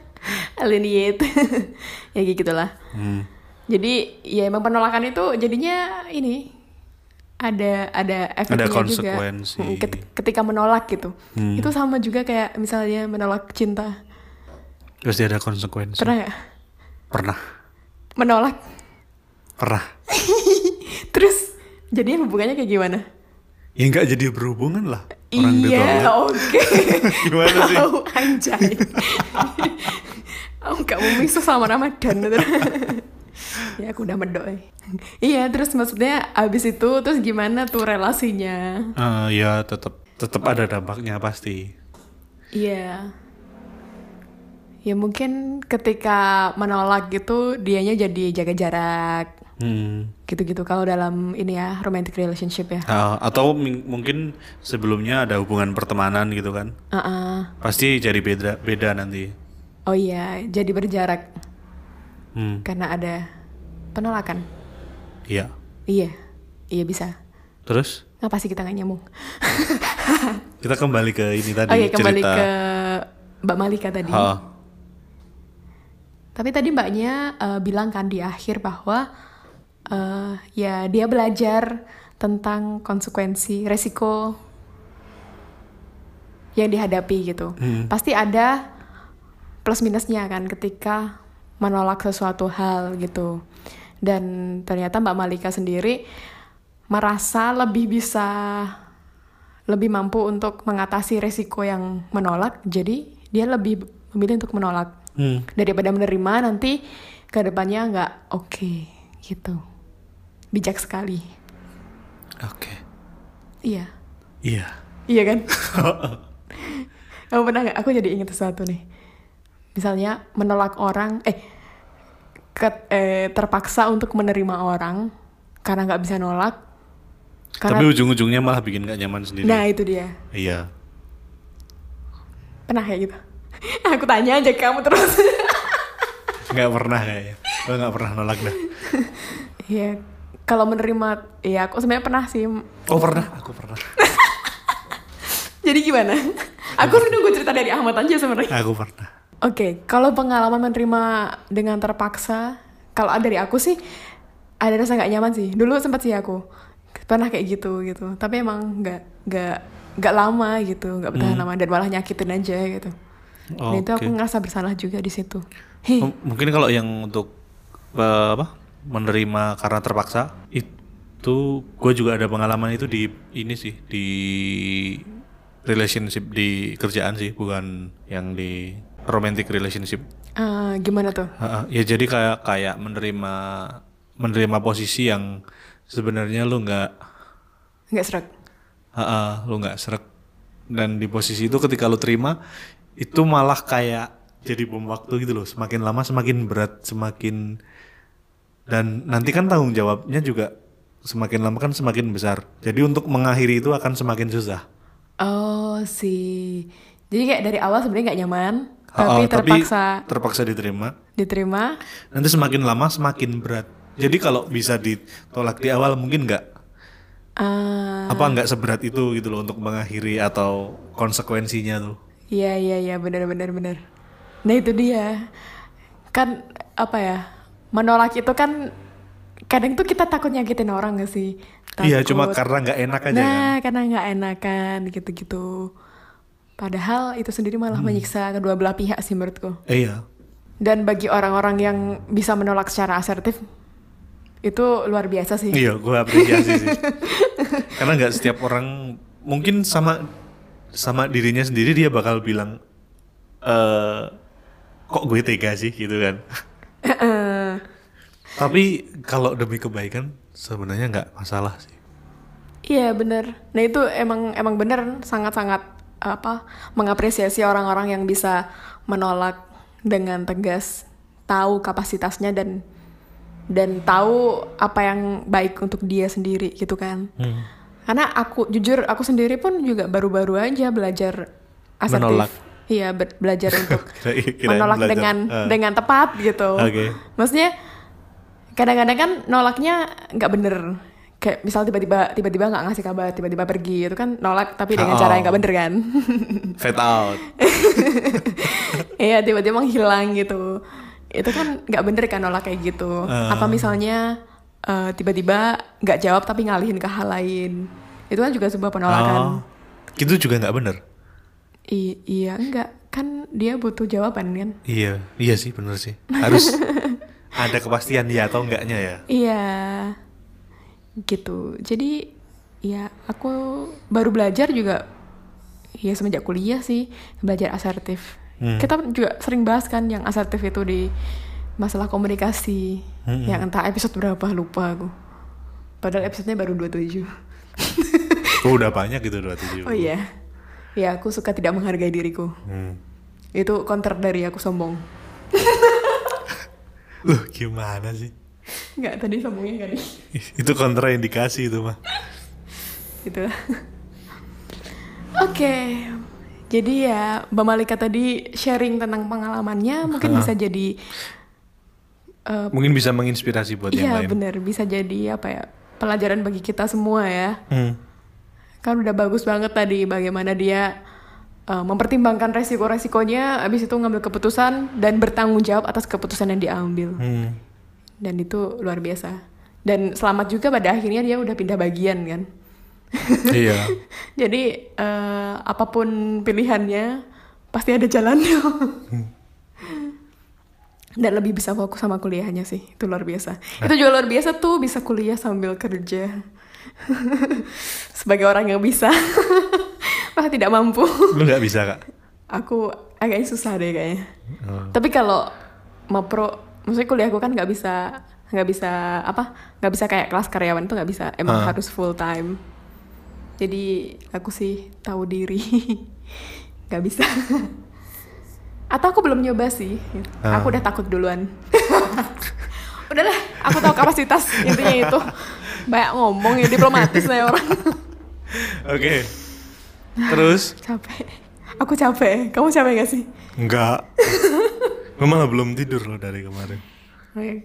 Speaker 1: Alienate. ya kayak gitulah.
Speaker 2: Hmm.
Speaker 1: Jadi ya emang penolakan itu jadinya ini ada ada efeknya
Speaker 2: konsekuensi.
Speaker 1: juga.
Speaker 2: Hmm.
Speaker 1: Mm, ket- Ketika menolak gitu. Itu sama juga kayak misalnya menolak cinta.
Speaker 2: Pasti ada konsekuensi.
Speaker 1: Pernah nggak?
Speaker 2: Pernah.
Speaker 1: Menolak.
Speaker 2: Pernah.
Speaker 1: Terus jadi hubungannya kayak gimana?
Speaker 2: Ya nggak jadi berhubungan lah. Orang
Speaker 1: iya,
Speaker 2: ditolak.
Speaker 1: oke.
Speaker 2: Gimana sih?
Speaker 1: Tahu, anjay. Aku gak mau mixu sama Ramadan. ya aku udah mendoi iya terus maksudnya abis itu terus gimana tuh relasinya
Speaker 2: Eh, ya tetap tetap ada dampaknya pasti.
Speaker 1: iya ya mungkin ketika menolak gitu dianya jadi jaga jarak
Speaker 2: Hmm.
Speaker 1: gitu-gitu kalau dalam ini ya romantic relationship ya
Speaker 2: Ah, atau mi- mungkin sebelumnya ada hubungan pertemanan gitu kan.
Speaker 1: Heeh.
Speaker 2: Pasti jadi beda beda nanti.
Speaker 1: Uh-uh. oh iya jadi berjarak
Speaker 2: Hmm.
Speaker 1: karena ada penolakan
Speaker 2: Iya.
Speaker 1: iya iya bisa
Speaker 2: Terus
Speaker 1: ngapa sih kita nggak nyambung
Speaker 2: kita kembali ke ini tadi
Speaker 1: oh iya kembali
Speaker 2: cerita.
Speaker 1: ke Mbak Malika tadi
Speaker 2: Ha.
Speaker 1: Tapi tadi mbaknya eh, bilang kan di akhir bahwa eh, ya dia belajar tentang konsekuensi, resiko yang dihadapi gitu. Pasti ada plus minusnya kan ketika menolak sesuatu hal gitu. Dan ternyata Mbak Malika sendiri merasa lebih bisa lebih mampu untuk mengatasi resiko yang menolak. Jadi dia lebih memilih untuk menolak
Speaker 2: Hmm.
Speaker 1: daripada menerima nanti ke depannya nggak oke gitu bijak sekali
Speaker 2: Oke.
Speaker 1: iya
Speaker 2: Iya.
Speaker 1: iya kan kamu pernah nggak aku jadi inget sesuatu nih misalnya menolak orang eh, ke- eh, terpaksa untuk menerima orang karena nggak bisa nolak
Speaker 2: Tapi
Speaker 1: karena
Speaker 2: ujung-ujungnya malah bikin gak nyaman sendiri.
Speaker 1: nah itu dia
Speaker 2: Iya.
Speaker 1: pernah kayak gitu aku tanya aja kamu terus
Speaker 2: Nggak pernah kayaknya. Gue nggak pernah nolak dah.
Speaker 1: ya kalau menerima ya aku sebenarnya pernah sih
Speaker 2: Oh pernah? Aku pernah.
Speaker 1: jadi gimana aku nunggu cerita dari Ahmad aja sebenarnya
Speaker 2: Aku pernah.
Speaker 1: Oke, kalau pengalaman menerima dengan terpaksa, kalau dari aku sih ada rasa nggak nyaman sih. Dulu sempat sih aku pernah kayak gitu gitu, tapi emang nggak nggak nggak lama gitu, nggak bertahan lama dan malah nyakitin aja gitu. Dan itu aku
Speaker 2: Oke.
Speaker 1: ngerasa bersalah juga di situ. Hih,
Speaker 2: M- Oh, Mungkin kalau yang untuk eh, apa menerima karena terpaksa itu gue juga ada pengalaman itu di ini sih di relationship di kerjaan sih bukan yang di romantic relationship.
Speaker 1: eh, gimana tuh?
Speaker 2: Ha-ha. Ya jadi kayak kayak menerima menerima posisi yang sebenarnya lu nggak
Speaker 1: Nggak serak.
Speaker 2: Heeh, lu nggak srek dan di posisi itu ketika lu terima itu malah kayak jadi bom waktu gitu loh semakin lama semakin berat semakin dan nanti kan tanggung jawabnya juga semakin lama kan semakin besar jadi untuk mengakhiri itu akan semakin susah
Speaker 1: Oh sih, jadi kayak dari awal sebenarnya nggak nyaman,
Speaker 2: Heeh,
Speaker 1: tapi terpaksa
Speaker 2: terpaksa diterima
Speaker 1: diterima.
Speaker 2: nanti semakin lama semakin berat jadi kalau bisa ditolak di awal mungkin nggak
Speaker 1: Eh,
Speaker 2: apa nggak seberat itu gitu loh untuk mengakhiri atau konsekuensinya tuh
Speaker 1: Iya iya iya benar benar benar. Nah itu dia. Kan apa ya? Menolak itu kan kadang tuh kita takut nyakitin orang gak sih?
Speaker 2: iya cuma
Speaker 1: Takut.
Speaker 2: karena nggak enak aja kan
Speaker 1: Nah, karena nggak enakan gitu-gitu. Padahal itu sendiri malah
Speaker 2: Hmm.
Speaker 1: menyiksa kedua belah pihak sih menurutku.
Speaker 2: Eh, iya
Speaker 1: Dan bagi orang-orang yang bisa menolak secara asertif itu luar biasa sih.
Speaker 2: Iya, gue apresiasi sih. Karena nggak setiap orang mungkin sama sama dirinya sendiri dia bakal bilang eh kok gue tega sih gitu kan.
Speaker 1: Eh,
Speaker 2: Tapi kalau demi kebaikan sebenarnya nggak masalah sih.
Speaker 1: Iya bener. Nah itu emang emang bener sangat-sangat apa mengapresiasi orang-orang yang bisa menolak dengan tegas, tahu kapasitasnya dan dan tahu apa yang baik untuk dia sendiri gitu kan.
Speaker 2: Hmm.
Speaker 1: Karena aku jujur aku sendiri pun juga baru-baru aja belajar asertif.
Speaker 2: Menolak.
Speaker 1: Iya be- belajar untuk
Speaker 2: Kira- kirain
Speaker 1: menolak
Speaker 2: belajar.
Speaker 1: dengan
Speaker 2: Eh.
Speaker 1: dengan tepat gitu.
Speaker 2: Oke.
Speaker 1: Maksudnya kadang-kadang kan nolaknya nggak bener. Kayak misal tiba-tiba tiba-tiba nggak ngasih kabar, tiba-tiba pergi itu kan nolak tapi dengan
Speaker 2: Oh.
Speaker 1: cara yang nggak bener kan.
Speaker 2: Fade out.
Speaker 1: Iya tiba-tiba menghilang gitu. Itu kan nggak bener kan nolak kayak gitu.
Speaker 2: Eh.
Speaker 1: Apa misalnya eh, tiba-tiba nggak jawab tapi ngalihin ke hal lain. Itu kan juga sebuah
Speaker 2: Oh.
Speaker 1: penolakan.
Speaker 2: Itu juga nggak bener.
Speaker 1: I- iya enggak kan dia butuh jawaban kan.
Speaker 2: Iya, iya sih bener sih. Harus ada kepastian ya atau enggaknya ya.
Speaker 1: Iya, gitu. Jadi ya aku baru belajar juga ya semenjak kuliah sih belajar asertif. Kita juga sering bahas kan yang asertif itu di masalah komunikasi yang entah episode berapa lupa aku. Padahal episodenya baru 27.
Speaker 2: Oh, udah banyak gitu 27.
Speaker 1: Oh iya. Ya, aku suka tidak menghargai diriku.
Speaker 2: Hmm.
Speaker 1: Itu counter dari aku sombong.
Speaker 2: Loh, gimana sih?
Speaker 1: Enggak, tadi sombongnya kan.
Speaker 2: Ih, Itu kontraindikasi itu mah.
Speaker 1: Gitu. Oke. Jadi ya, Mbak Malika tadi sharing tentang pengalamannya mungkin bisa jadi eh,
Speaker 2: Mungkin bisa menginspirasi buat yang
Speaker 1: Iya
Speaker 2: lain.
Speaker 1: bener, bisa jadi apa ya pelajaran bagi kita semua ya.
Speaker 2: Hmm.
Speaker 1: Kan udah bagus banget tadi bagaimana dia uh, mempertimbangkan resiko-resikonya, habis itu ngambil keputusan dan bertanggung jawab atas keputusan yang diambil.
Speaker 2: Hmm.
Speaker 1: Dan itu luar biasa. Dan selamat juga pada akhirnya dia udah pindah bagian kan.
Speaker 2: iya.
Speaker 1: Jadi eh, apapun pilihannya pasti ada jalannya. Dan lebih bisa fokus sama kuliahnya sih, itu luar biasa. Itu juga luar biasa tuh bisa kuliah sambil kerja. Sebagai orang yang bisa, wah tidak mampu.
Speaker 2: Lu nggak bisa, Kak.
Speaker 1: Aku agak susah deh kayaknya.
Speaker 2: Oh.
Speaker 1: Tapi kalau mapro, maksudnya kuliahku kan nggak bisa nggak bisa apa nggak bisa kayak kelas karyawan tuh nggak bisa emang
Speaker 2: Ah.
Speaker 1: harus full time jadi aku sih tahu diri nggak bisa atau aku belum nyoba sih
Speaker 2: Ah.
Speaker 1: aku udah takut duluan udahlah aku tahu kapasitas intinya itu banyak ngomong ya diplomatis lah ya orang
Speaker 2: Oke. Terus?
Speaker 1: capek aku capek kamu capek gak sih
Speaker 2: Enggak. Gue malah belum tidur loh dari kemarin.
Speaker 1: Oke.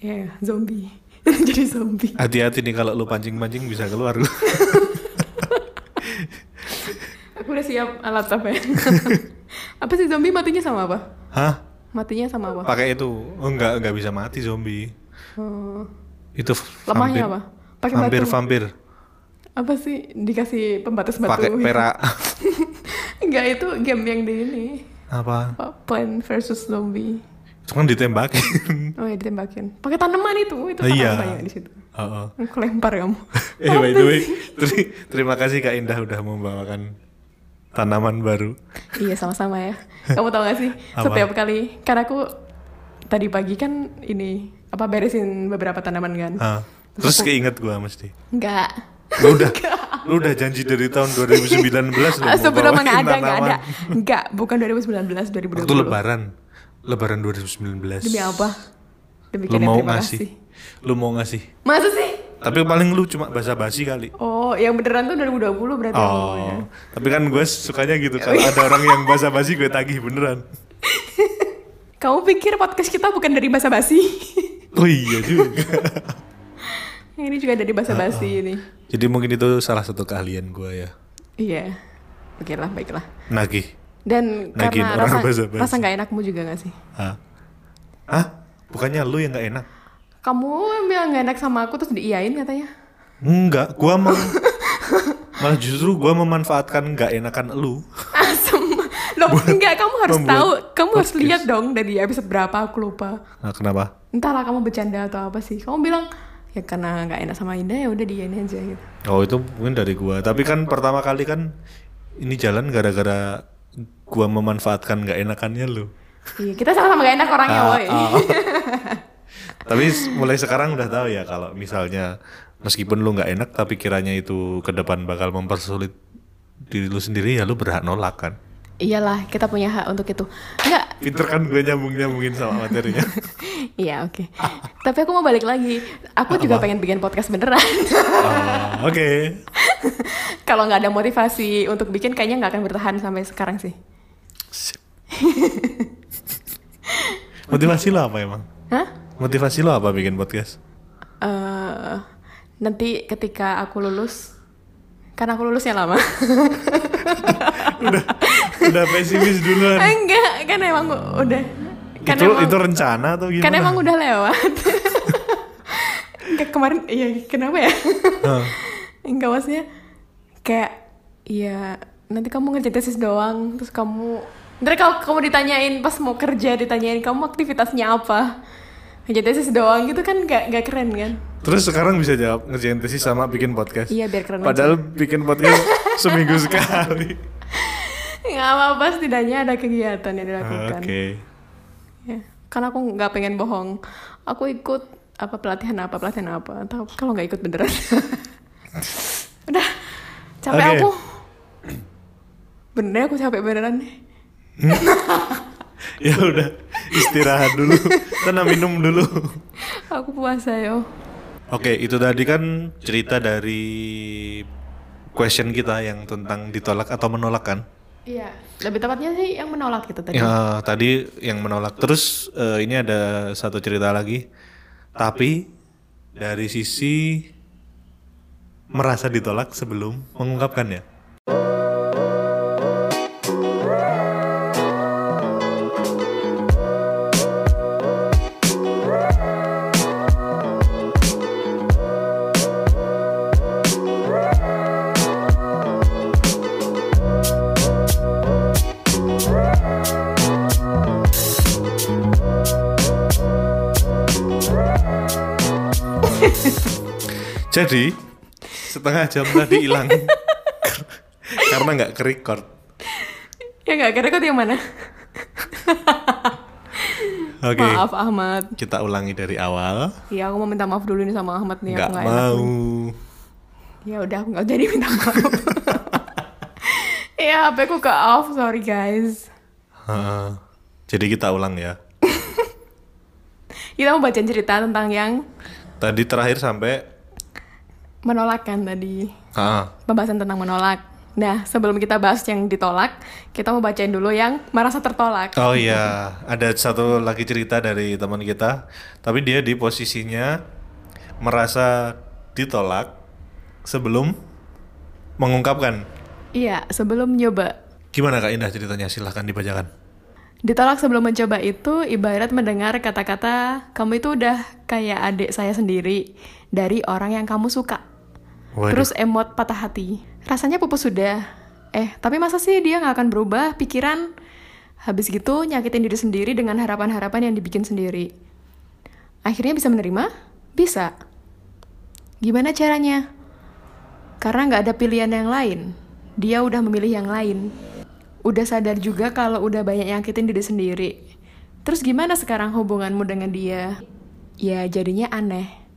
Speaker 1: ya zombie jadi zombie
Speaker 2: Hati-hati nih kalau lu pancing-pancing bisa keluar. lu.
Speaker 1: Aku udah siap alat apa ya? apa sih zombie matinya sama apa?
Speaker 2: Hah?
Speaker 1: Matinya sama apa?
Speaker 2: Pakai itu. Oh, enggak, enggak bisa mati zombie.
Speaker 1: Hmm.
Speaker 2: Itu f-
Speaker 1: Lemahnya
Speaker 2: vampir.
Speaker 1: apa? Pakai
Speaker 2: vampir,
Speaker 1: batu.
Speaker 2: vampir.
Speaker 1: Apa sih dikasih pembatas batu?
Speaker 2: Pakai perak.
Speaker 1: Enggak itu game yang di ini.
Speaker 2: Apa?
Speaker 1: Apa? Plan versus zombie.
Speaker 2: Itu kan ditembakin.
Speaker 1: Oh ya ditembakin. Pakai tanaman itu, itu
Speaker 2: Oh, iya.
Speaker 1: tanaman banyak di situ.
Speaker 2: Oh, oh.
Speaker 1: Aku lempar kamu.
Speaker 2: Eh, by the way, teri- terima kasih Kak Indah udah membawakan tanaman baru.
Speaker 1: Iya sama-sama ya. Kamu tahu gak sih
Speaker 2: Apa?
Speaker 1: setiap kali karena aku tadi pagi kan ini apa beresin beberapa tanaman kan?
Speaker 2: Ah, terus keinget gua mesti.
Speaker 1: Enggak.
Speaker 2: Lu udah, lu udah janji dari tahun 2019 lu
Speaker 1: Ah, Sebelum
Speaker 2: mau
Speaker 1: mana ada,
Speaker 2: bawain
Speaker 1: nggak ada.
Speaker 2: tanaman.
Speaker 1: Enggak, bukan 2019, 2020.
Speaker 2: Waktu lebaran. Lebaran 2019.
Speaker 1: Demi apa? Demi
Speaker 2: Lu
Speaker 1: kalian,
Speaker 2: mau
Speaker 1: terima kasih.
Speaker 2: ngasih? Lu mau ngasih?
Speaker 1: Masa sih?
Speaker 2: Tapi paling lu cuma basa-basi kali.
Speaker 1: Oh, yang beneran tuh 2020 berarti. ya. yang ngomongnya.
Speaker 2: Oh, tapi kan gue sukanya gitu kalau
Speaker 1: Iya.
Speaker 2: ada orang yang basa-basi gue tagih beneran.
Speaker 1: Kamu pikir podcast kita bukan dari bahasa basi?
Speaker 2: Oh iya juga.
Speaker 1: ini juga dari bahasa basi ini.
Speaker 2: Jadi mungkin itu salah satu keahlian gue ya.
Speaker 1: Iya. Oke lah, baiklah.
Speaker 2: Nagih.
Speaker 1: Dan
Speaker 2: Nagin
Speaker 1: karena
Speaker 2: orang
Speaker 1: rasa
Speaker 2: basa-basi.
Speaker 1: rasa nggak enakmu juga nggak sih?
Speaker 2: Hah? Hah? Bukannya lu yang gak enak?
Speaker 1: Kamu bilang nggak enak sama aku terus diiyain katanya.
Speaker 2: Enggak, gue mau... Malah justru gue memanfaatkan gak enakan lu.
Speaker 1: Asem. Loh, enggak, kamu harus
Speaker 2: membuat
Speaker 1: tahu, kamu harus
Speaker 2: podcast.
Speaker 1: lihat dong dari episode berapa aku lupa.
Speaker 2: Nah, kenapa?
Speaker 1: entahlah kamu bercanda atau apa sih kamu bilang ya karena nggak enak sama Indah ya udah diain aja gitu
Speaker 2: Oh itu mungkin dari gue. Tapi kan pertama kali kan ini jalan gara-gara gue memanfaatkan gak enakannya lu.
Speaker 1: iya kita sama-sama gak enak orangnya
Speaker 2: Ah,
Speaker 1: woi
Speaker 2: ah. tapi s- mulai sekarang udah tahu ya kalau misalnya meskipun lu nggak enak tapi kiranya itu ke depan bakal mempersulit diri lu sendiri ya lu berhak nolak kan.
Speaker 1: iyalah kita punya hak untuk itu nggak
Speaker 2: Pinter kan gue nyambung nyambungin sama materinya.
Speaker 1: iya oke tapi aku mau balik lagi aku juga pengen bikin podcast beneran
Speaker 2: Ah, Oke.
Speaker 1: kalau nggak ada motivasi untuk bikin kayaknya nggak akan bertahan sampai sekarang sih
Speaker 2: Sip. Motivasi lo apa emang?
Speaker 1: hah
Speaker 2: Motivasi lo apa bikin podcast?
Speaker 1: Eh, nanti ketika aku lulus karena aku lulusnya lama
Speaker 2: Udah pesimis duluan.
Speaker 1: enggak kan emang udah kan
Speaker 2: itu itu rencana atau gimana?
Speaker 1: Kan emang udah lewat. Enggak kemarin, iya kenapa ya?
Speaker 2: Hah.
Speaker 1: Enggak maksudnya kayak ya nanti kamu ngerjain tesis doang, terus kamu ntar kalau kamu ditanyain pas mau kerja ditanyain kamu aktivitasnya apa ngerjain tesis doang gitu kan gak, gak keren kan?
Speaker 2: Terus sekarang bisa jawab ngerjain tesis sama bikin podcast.
Speaker 1: Iya biar keren. aja.
Speaker 2: Padahal bikin podcast seminggu sekali. Ah,
Speaker 1: nggak apa-apa setidaknya ada kegiatan yang dilakukan.
Speaker 2: Oke.
Speaker 1: Ya. karena aku nggak pengen bohong aku ikut apa pelatihan apa pelatihan apa atau kalau nggak ikut beneran udah capek
Speaker 2: Oke.
Speaker 1: aku bener aku capek beneran nih
Speaker 2: ya udah istirahat dulu sana minum dulu
Speaker 1: aku puasa yo
Speaker 2: oke itu tadi kan cerita dari question kita yang tentang ditolak atau menolak kan
Speaker 1: iya lebih tepatnya sih yang menolak gitu tadi
Speaker 2: ya tadi yang menolak terus eh, ini ada satu cerita lagi tapi dari sisi merasa ditolak sebelum ya? mengungkapkannya Jadi setengah jam tadi hilang Kar- karena nggak ke record.
Speaker 1: ya nggak kira kok yang mana
Speaker 2: Oke,
Speaker 1: maaf Ahmad
Speaker 2: kita ulangi dari awal.
Speaker 1: Iya, aku mau minta maaf dulu nih sama Ahmad nih.
Speaker 2: Nggak
Speaker 1: aku nggak enak.
Speaker 2: mau.
Speaker 1: Ya udah, aku nggak jadi minta maaf. Iya, HP ku ke off, sorry guys.
Speaker 2: Heeh. Jadi kita ulang ya.
Speaker 1: Kita mau bacain cerita tentang yang
Speaker 2: Tadi terakhir sampai
Speaker 1: menolakkan kan tadi.
Speaker 2: ah,
Speaker 1: Pembahasan tentang menolak. Nah, sebelum kita bahas yang ditolak, kita mau bacain dulu yang merasa tertolak.
Speaker 2: oh iya ada satu lagi cerita dari teman kita. Tapi dia di posisinya merasa ditolak sebelum mengungkapkan.
Speaker 1: Iya, sebelum nyoba.
Speaker 2: Gimana Kak Indah ceritanya? Silahkan dibacakan.
Speaker 1: Ditolak sebelum mencoba itu ibarat mendengar kata-kata, kamu itu udah kayak adik saya sendiri dari orang yang kamu suka.
Speaker 2: Waduh.
Speaker 1: Terus emot patah hati. Rasanya pupus sudah. Eh, tapi masa sih dia nggak akan berubah pikiran? Habis gitu nyakitin diri sendiri dengan harapan-harapan yang dibikin sendiri. Akhirnya bisa menerima? Bisa. Gimana caranya? Karena nggak ada pilihan yang lain. Dia udah memilih yang lain. Udah sadar juga kalau udah banyak nyakitin diri sendiri. Terus gimana sekarang hubunganmu dengan dia? Ya jadinya aneh.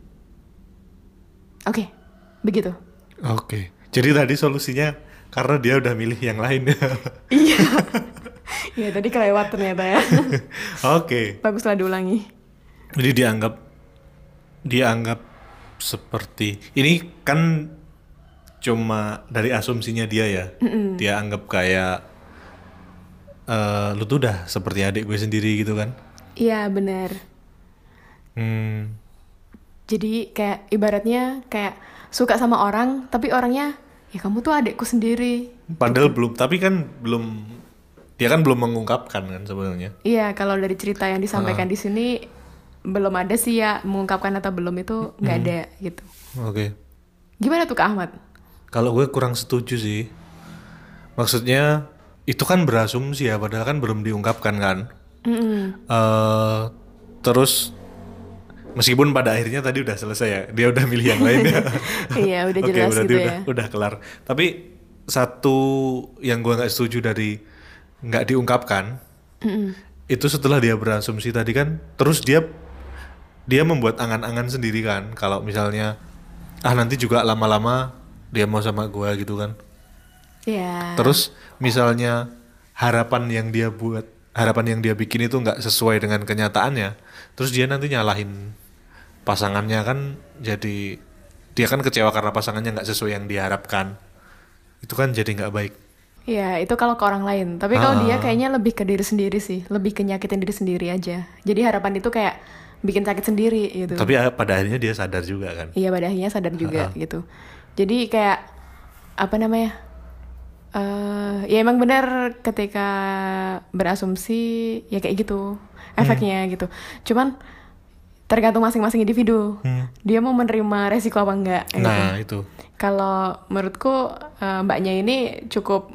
Speaker 1: Oke, begitu.
Speaker 2: Oke. Jadi tadi solusinya karena dia udah milih yang lain.
Speaker 1: Iya. Iya tadi kelewat ternyata ya.
Speaker 2: Oke.
Speaker 1: Baguslah diulangi.
Speaker 2: Jadi dianggap dianggap seperti ini kan cuma dari asumsinya dia ya. Dia anggap kayak eh, lu tuh udah seperti adik gue sendiri gitu kan.
Speaker 1: Iya benar.
Speaker 2: Hmm.
Speaker 1: Jadi kayak ibaratnya kayak suka sama orang tapi orangnya ya kamu tuh adikku sendiri.
Speaker 2: Padahal belum, tapi kan belum dia kan belum mengungkapkan kan sebenarnya.
Speaker 1: Iya kalau dari cerita yang disampaikan di sini belum ada sih ya mengungkapkan atau belum itu nggak ada gitu.
Speaker 2: Oke.
Speaker 1: Gimana tuh Kak Ahmad?
Speaker 2: Kalau gue kurang setuju sih. Maksudnya itu kan berasumsi ya, padahal kan belum diungkapkan kan.
Speaker 1: Mm-mm.
Speaker 2: eh terus meskipun pada akhirnya tadi udah selesai ya, dia udah milih yang lain ya.
Speaker 1: Iya udah
Speaker 2: Oke,
Speaker 1: jelas
Speaker 2: berarti
Speaker 1: gitu
Speaker 2: udah,
Speaker 1: ya.
Speaker 2: udah kelar. Tapi satu yang gue nggak setuju dari nggak diungkapkan
Speaker 1: Mm-mm.
Speaker 2: itu setelah dia berasumsi tadi kan, terus dia dia membuat angan-angan sendiri kan, kalau misalnya ah nanti juga lama-lama dia mau sama gue gitu kan.
Speaker 1: Iya.
Speaker 2: Terus misalnya harapan yang dia buat, harapan yang dia bikin itu nggak sesuai dengan kenyataannya, terus dia nanti nyalahin pasangannya kan jadi dia kan kecewa karena pasangannya nggak sesuai yang diharapkan. Itu kan jadi nggak baik.
Speaker 1: Iya, itu kalau ke orang lain. Tapi kalau dia kayaknya lebih ke diri sendiri sih, lebih ke nyakitin diri sendiri aja. Jadi harapan itu kayak bikin sakit sendiri gitu.
Speaker 2: Tapi ah, pada akhirnya dia sadar juga kan.
Speaker 1: Iya, pada akhirnya sadar juga gitu. Jadi kayak apa namanya? eh ya emang benar ketika berasumsi ya kayak gitu
Speaker 2: Hmm.
Speaker 1: efeknya gitu. Cuman tergantung masing-masing individu. Dia mau menerima resiko apa enggak. gitu.
Speaker 2: Hmm. Nah itu.
Speaker 1: Kalau menurutku eh, mbaknya ini cukup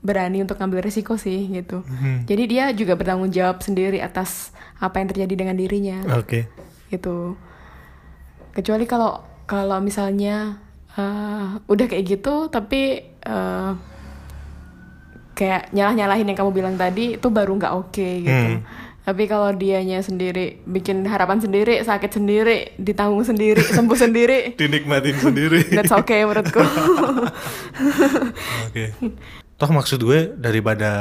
Speaker 1: berani untuk ngambil risiko sih gitu.
Speaker 2: Hmm.
Speaker 1: Jadi dia juga bertanggung jawab sendiri atas apa yang terjadi dengan dirinya
Speaker 2: Oke.
Speaker 1: gitu. Kecuali kalau kalau misalnya eh, udah kayak gitu tapi eh, kayak nyalah-nyalahin yang kamu bilang tadi itu baru nggak oke gitu. Tapi kalau dianya sendiri bikin harapan sendiri, sakit sendiri, ditanggung sendiri, sembuh sendiri,
Speaker 2: dinikmatin sendiri
Speaker 1: that's okay menurutku.
Speaker 2: Oke. Toh maksud gue daripada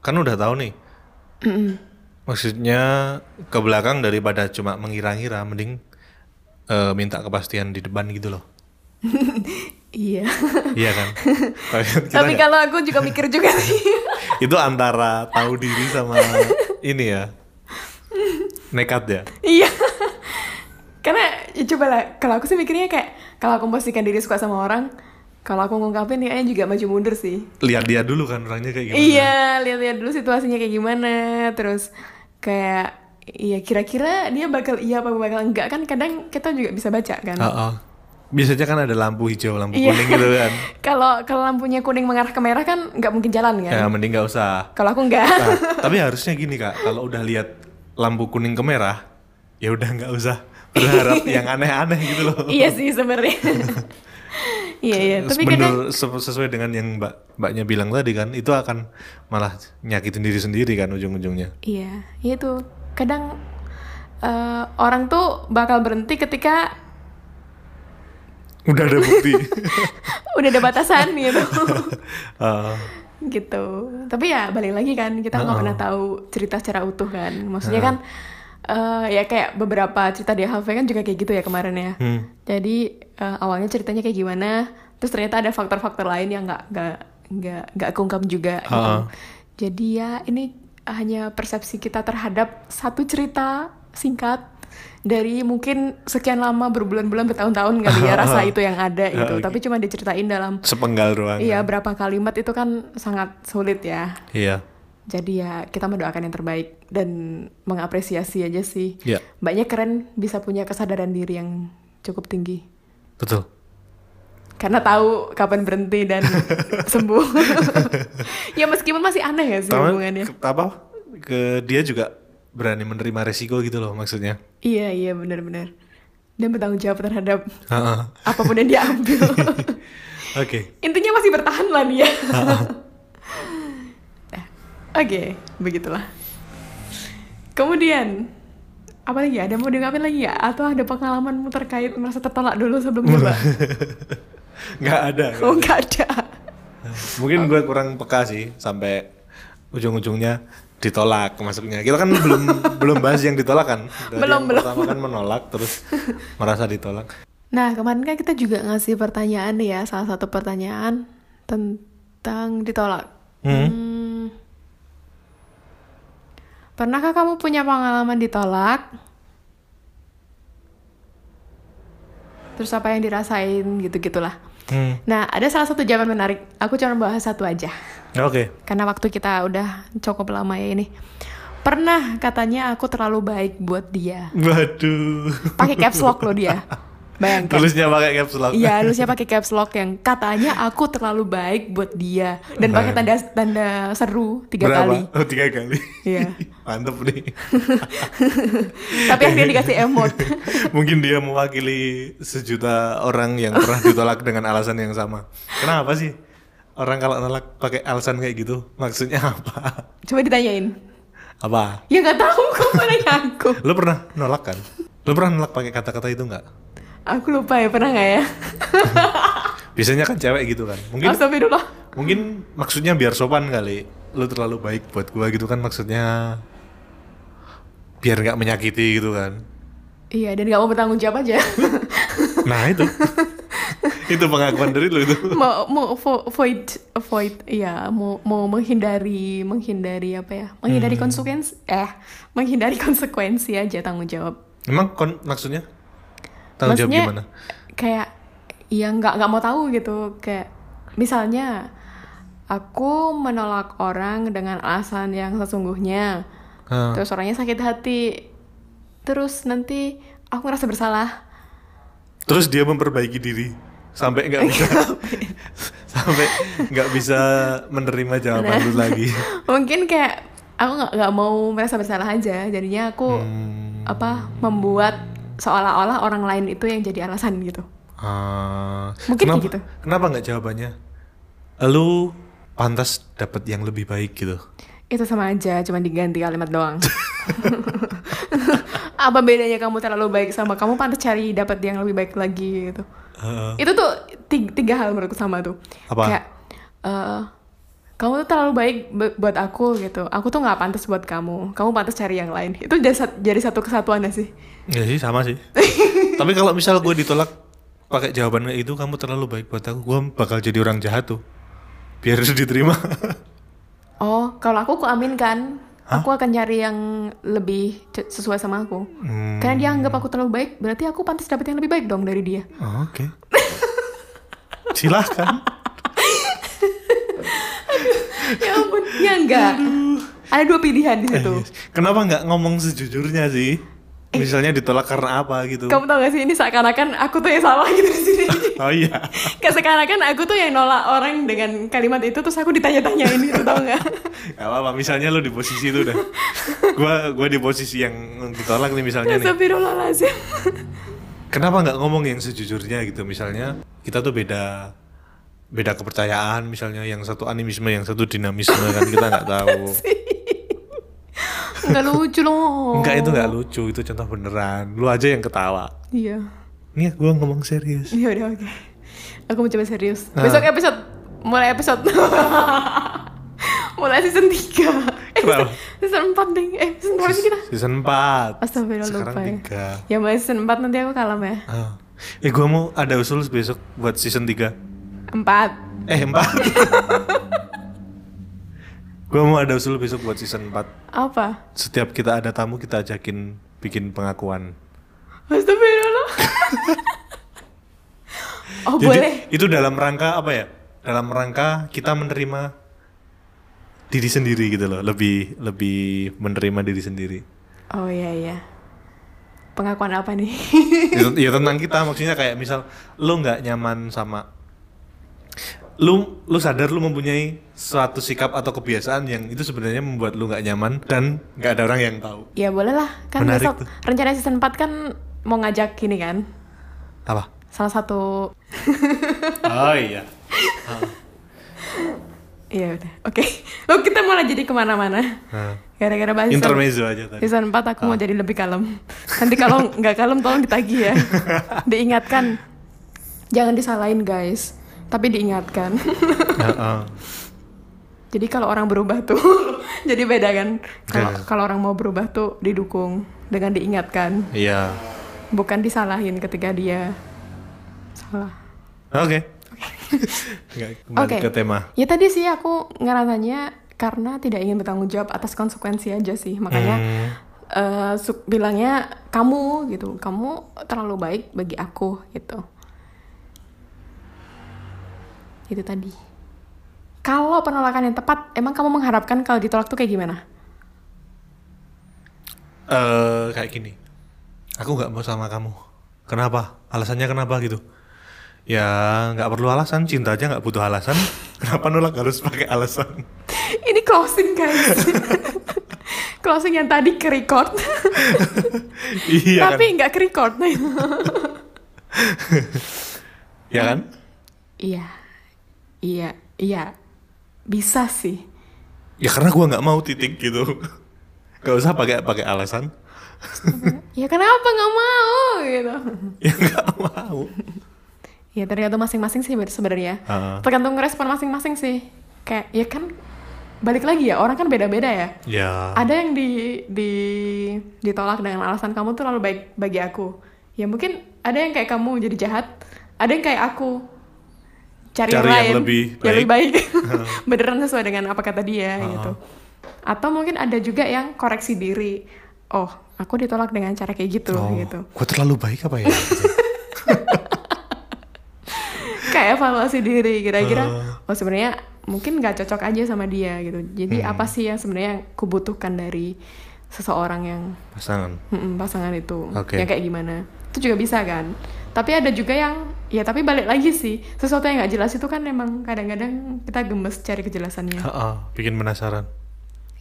Speaker 2: kan udah tahu nih. Maksudnya ke belakang daripada cuma mengira-ngira mending eh, minta kepastian di depan gitu loh.
Speaker 1: iya.
Speaker 2: Iya kan? Tapi kan kita
Speaker 1: Tapi
Speaker 2: nggak-
Speaker 1: kalau aku juga mikir juga sih.
Speaker 2: itu antara tahu diri sama ini ya. Nekat ya.
Speaker 1: Iya. Karena ya coba lah, kalau aku sih mikirnya kayak kalau aku memposisikan diri suka sama orang, kalau aku ngungkapin kayaknya juga maju mundur sih.
Speaker 2: Lihat dia dulu kan orangnya kayak gimana.
Speaker 1: Iya, lihat-lihat dulu situasinya kayak gimana, terus kayak iya kira-kira dia bakal iya apa bakal enggak kan kadang kita juga bisa baca kan.
Speaker 2: Heeh. Biasanya kan ada lampu hijau, lampu
Speaker 1: Iya.
Speaker 2: kuning gitu kan.
Speaker 1: Kalau kalau lampunya kuning mengarah ke merah kan nggak mungkin jalan kan.
Speaker 2: Ya mending nggak usah.
Speaker 1: Kalau aku enggak.
Speaker 2: Nah, tapi harusnya gini kak, kalau udah lihat lampu kuning ke merah, ya udah nggak usah berharap yang aneh-aneh gitu loh.
Speaker 1: iya sih sebenarnya. Iya iya, tapi kadang
Speaker 2: Bener se- sesuai dengan yang mbak mbaknya bilang tadi kan, itu akan malah nyakitin diri sendiri kan ujung-ujungnya.
Speaker 1: Iya, iya itu. Kadang eh, orang tuh bakal berhenti ketika
Speaker 2: Udah ada bukti.
Speaker 1: udah ada batasan gitu.
Speaker 2: Eh,
Speaker 1: gitu. Tapi ya balik lagi kan, kita nggak pernah tahu cerita secara utuh kan. Maksudnya kan eh, ya kayak beberapa cerita di HV kan juga kayak gitu ya kemarin ya. Jadi eh, awalnya ceritanya kayak gimana, terus ternyata ada faktor-faktor lain yang nggak nggak nggak nggak keungkap juga. gitu. Jadi ya ini hanya persepsi kita terhadap satu cerita singkat dari mungkin sekian lama berbulan-bulan bertahun-tahun kali ya rasa itu yang ada gitu. Tapi cuma diceritain dalam
Speaker 2: sepenggal doang.
Speaker 1: Iya, berapa kalimat itu kan sangat sulit ya.
Speaker 2: Iya.
Speaker 1: Jadi ya kita mendoakan yang terbaik dan mengapresiasi aja sih.
Speaker 2: Iya.
Speaker 1: Mbaknya keren bisa punya kesadaran diri yang cukup tinggi.
Speaker 2: Betul.
Speaker 1: Karena tahu kapan berhenti dan sembuh. ya meskipun masih aneh ya sih
Speaker 2: Tapi
Speaker 1: hubungannya.
Speaker 2: ke- apa? Ke dia juga berani menerima resiko gitu loh maksudnya.
Speaker 1: Iya, iya benar-benar. Dan bertanggung jawab terhadap
Speaker 2: Heeh.
Speaker 1: apapun yang dia ambil.
Speaker 2: Oke.
Speaker 1: Intinya masih bertahan lah dia. Nah, Oke, begitulah. Kemudian, apa lagi? Ada mau diungkapin lagi ya? Atau ada pengalamanmu terkait merasa tertolak dulu sebelum coba?
Speaker 2: Nggak ada.
Speaker 1: oh, nggak ada.
Speaker 2: Mungkin gue kurang peka sih sampai ujung-ujungnya ditolak masuknya. Kita kan belum belum bahas yang ditolak kan. Dari
Speaker 1: Belum,
Speaker 2: yang
Speaker 1: belum.
Speaker 2: Pertama kan menolak terus merasa ditolak.
Speaker 1: Nah, kemarin kan kita juga ngasih pertanyaan nih ya, salah satu pertanyaan tentang ditolak. Hmm. Pernahkah kamu punya pengalaman ditolak? Terus apa yang dirasain gitu-gitulah.
Speaker 2: Hmm.
Speaker 1: Nah, ada salah satu jawaban menarik. Aku cuma bahas satu aja.
Speaker 2: Ya, Oke.
Speaker 1: Karena waktu kita udah cukup lama ya ini. Pernah katanya aku terlalu baik buat dia.
Speaker 2: Waduh.
Speaker 1: Pakai caps lock loh dia. Bayangkan.
Speaker 2: Tulisnya pakai caps lock.
Speaker 1: Iya, harusnya pakai caps lock yang katanya aku terlalu baik buat dia dan pakai tanda tanda seru tiga
Speaker 2: Berapa?
Speaker 1: kali.
Speaker 2: Oh, tiga kali.
Speaker 1: Iya.
Speaker 2: Mantep nih.
Speaker 1: Tapi akhirnya dikasih emot.
Speaker 2: Mungkin dia mewakili sejuta orang yang pernah ditolak dengan alasan yang sama. Kenapa sih? Orang kalau nolak pakai alasan kayak gitu, maksudnya apa?
Speaker 1: Coba ditanyain.
Speaker 2: Apa?
Speaker 1: Ya nggak tahu kok mana aku.
Speaker 2: Lo pernah nolak kan? Lo pernah nolak pakai kata-kata itu nggak?
Speaker 1: Aku lupa ya pernah nggak ya?
Speaker 2: Biasanya kan cewek gitu kan. Mungkin
Speaker 1: Astagfirullah.
Speaker 2: mungkin maksudnya biar sopan kali. Lo terlalu baik buat gua gitu kan maksudnya biar nggak menyakiti gitu kan.
Speaker 1: Iya, dan nggak mau bertanggung jawab aja.
Speaker 2: Nah itu itu pengakuan dari lo itu.
Speaker 1: mau mau vo- void avoid iya mau mau menghindari menghindari apa ya menghindari
Speaker 2: Hmm.
Speaker 1: konsekuensi eh menghindari konsekuensi aja tanggung jawab
Speaker 2: Emang kon maksudnya tanggung jawab
Speaker 1: Maksudnya,
Speaker 2: gimana?
Speaker 1: Kayak ya nggak nggak mau tahu gitu kayak misalnya aku menolak orang dengan alasan yang sesungguhnya
Speaker 2: Ah,
Speaker 1: terus orangnya sakit hati terus nanti aku ngerasa bersalah
Speaker 2: terus dia memperbaiki diri sampai nggak bisa sampai nggak bisa menerima jawaban lu lagi.
Speaker 1: mungkin kayak aku nggak nggak mau merasa bersalah aja jadinya aku
Speaker 2: Hmm.
Speaker 1: apa membuat seolah-olah orang lain itu yang jadi alasan gitu
Speaker 2: Ah,
Speaker 1: Mungkin kayak
Speaker 2: kenapa,
Speaker 1: gitu.
Speaker 2: Kenapa nggak jawabannya? Lu pantas dapat yang lebih baik gitu.
Speaker 1: Itu sama aja, cuma diganti kalimat doang. Apa bedanya kamu terlalu baik sama kamu pantas cari dapat yang lebih baik lagi gitu.
Speaker 2: Heeh.
Speaker 1: Itu tuh tiga, tiga hal menurutku sama tuh.
Speaker 2: Apa?
Speaker 1: Kayak eh, kamu tuh terlalu baik bu- buat aku gitu. Aku tuh nggak pantas buat kamu. Kamu pantas cari yang lain. Itu jadi, sat- jadi satu kesatuan gak sih?
Speaker 2: Ya sih sama sih. Tapi kalau misal gue ditolak pakai jawaban kayak itu kamu terlalu baik buat aku, gue bakal jadi orang jahat tuh. Biar diterima.
Speaker 1: Oh, kalau aku aku aminkan. Aku akan cari yang lebih ce- sesuai sama aku.
Speaker 2: Hmm,
Speaker 1: Karena dia anggap aku terlalu baik, berarti aku pantas dapat yang lebih baik dong dari dia.
Speaker 2: oh, Oke. Silahkan.
Speaker 1: ya ampun, ya enggak. Ada dua pilihan di situ.
Speaker 2: Yes. Eh, Kenapa nggak ngomong sejujurnya sih? Misalnya ditolak karena apa gitu?
Speaker 1: Eh. Kamu tau gak sih ini seakan-akan aku tuh yang salah gitu di sini.
Speaker 2: Oh iya.
Speaker 1: Kayak seakan-akan aku tuh yang nolak orang dengan kalimat itu terus aku ditanya-tanyain itu tau gak?
Speaker 2: Gak apa-apa, misalnya lu di posisi itu udah gua gua di posisi yang ditolak nih misalnya nih
Speaker 1: Astagfirullahaladzim.
Speaker 2: Kenapa nggak ngomong yang sejujurnya gitu Misalnya kita tuh beda Beda kepercayaan misalnya Yang satu animisme, yang satu dinamisme kan Kita nggak tahu
Speaker 1: Enggak lucu loh.
Speaker 2: Enggak itu nggak lucu, itu contoh beneran Lu aja yang ketawa
Speaker 1: Iya.
Speaker 2: Nih gua ngomong serius
Speaker 1: Ya udah oke. Aku mau coba serius.
Speaker 2: Ah.
Speaker 1: Besok episode mulai episode mulai season 3. Eh,
Speaker 2: Kenapa?
Speaker 1: season 4 deh. Eh, season berapa sih kita?
Speaker 2: Season 4
Speaker 1: Astagfirullah
Speaker 2: Sekarang
Speaker 1: lupa ya.
Speaker 2: 3
Speaker 1: Ya mulai season 4 nanti aku kalem ya.
Speaker 2: Ah. Eh gua mau ada usul besok buat season 3
Speaker 1: 4.
Speaker 2: Eh 4 Gua mau ada usul besok buat season 4
Speaker 1: Apa?
Speaker 2: setiap kita ada tamu kita ajakin bikin pengakuan.
Speaker 1: Astagfirullah. oh, boleh.
Speaker 2: itu dalam rangka apa ya? Dalam rangka kita menerima diri sendiri gitu loh, lebih lebih menerima diri sendiri.
Speaker 1: Oh iya iya. Pengakuan apa nih?
Speaker 2: ya, ya tentang kita maksudnya kayak misal lu nggak nyaman sama lu lu sadar lu mempunyai suatu sikap atau kebiasaan yang itu sebenarnya membuat lu nggak nyaman dan nggak ada orang yang tahu.
Speaker 1: ya boleh lah. Kan
Speaker 2: Menarik
Speaker 1: besok
Speaker 2: tuh.
Speaker 1: rencana season 4 kan mau ngajak ini kan.
Speaker 2: Apa?
Speaker 1: Salah satu
Speaker 2: Oh iya.
Speaker 1: Iya udah. Oke. Oh, kita malah jadi kemana mana
Speaker 2: Nah,
Speaker 1: Gara-gara bahas season-
Speaker 2: intermezzo Ah. aja tadi.
Speaker 1: Season 4 aku mau jadi lebih kalem. Nanti kalau nggak kalem tolong ditagih ya. Diingatkan. Jangan disalahin guys. Tapi diingatkan.
Speaker 2: Heeh.
Speaker 1: jadi kalau orang berubah tuh jadi beda kan. Kalau
Speaker 2: Yes.
Speaker 1: kalau orang mau berubah tuh didukung dengan diingatkan,
Speaker 2: Iya.
Speaker 1: bukan disalahin ketika dia salah.
Speaker 2: Oke. Nggak, Kembali
Speaker 1: Oke.
Speaker 2: ke tema.
Speaker 1: Ya tadi sih aku ngerasanya karena tidak ingin bertanggung jawab atas konsekuensi aja sih. Makanya
Speaker 2: Hmm.
Speaker 1: eh, su- bilangnya kamu gitu, kamu terlalu baik bagi aku gitu. Itu tadi. Kalau penolakan yang tepat, emang kamu mengharapkan kalau ditolak tuh kayak gimana?
Speaker 2: Eh, kayak gini. Aku nggak mau sama kamu. Kenapa? Alasannya kenapa gitu? Ya nggak perlu alasan. Cinta aja nggak butuh alasan. Kenapa nolak harus pakai alasan?
Speaker 1: Ini closing guys. closing yang tadi ke record,
Speaker 2: iya kan?
Speaker 1: tapi nggak ke record.
Speaker 2: Iya kan?
Speaker 1: iya, iya, iya, bisa sih.
Speaker 2: Ya karena gua nggak mau titik gitu. Gak usah pakai pakai alasan.
Speaker 1: Ya kenapa nggak mau gitu?
Speaker 2: Ya nggak mau.
Speaker 1: Ya tergantung masing-masing sih ber- sebenarnya.
Speaker 2: Heeh.
Speaker 1: Tergantung respon masing-masing sih. Kayak ya kan balik lagi ya orang kan beda-beda ya.
Speaker 2: Ya.
Speaker 1: Ada yang di di ditolak dengan alasan kamu tuh terlalu baik bagi aku. Ya mungkin ada yang kayak kamu jadi jahat, ada yang kayak aku cari,
Speaker 2: Cari yang
Speaker 1: lain
Speaker 2: lebih
Speaker 1: lebih baik. Beneran sesuai dengan apa kata dia gitu. Atau mungkin ada juga yang koreksi diri. Oh, aku ditolak dengan cara kayak gitu
Speaker 2: Oh,
Speaker 1: gitu.
Speaker 2: gua terlalu baik apa ya?
Speaker 1: kayak evaluasi diri kira-kira
Speaker 2: Ah.
Speaker 1: oh sebenarnya mungkin nggak cocok aja sama dia gitu jadi
Speaker 2: Hmm.
Speaker 1: apa sih yang sebenarnya yang kubutuhkan dari seseorang yang
Speaker 2: Pasangan.
Speaker 1: mm, pasangan itu
Speaker 2: Oke.
Speaker 1: yang kayak gimana itu juga bisa kan tapi ada juga yang ya tapi balik lagi sih sesuatu yang nggak jelas itu kan memang kadang-kadang kita gemes cari kejelasannya
Speaker 2: Heeh, bikin penasaran.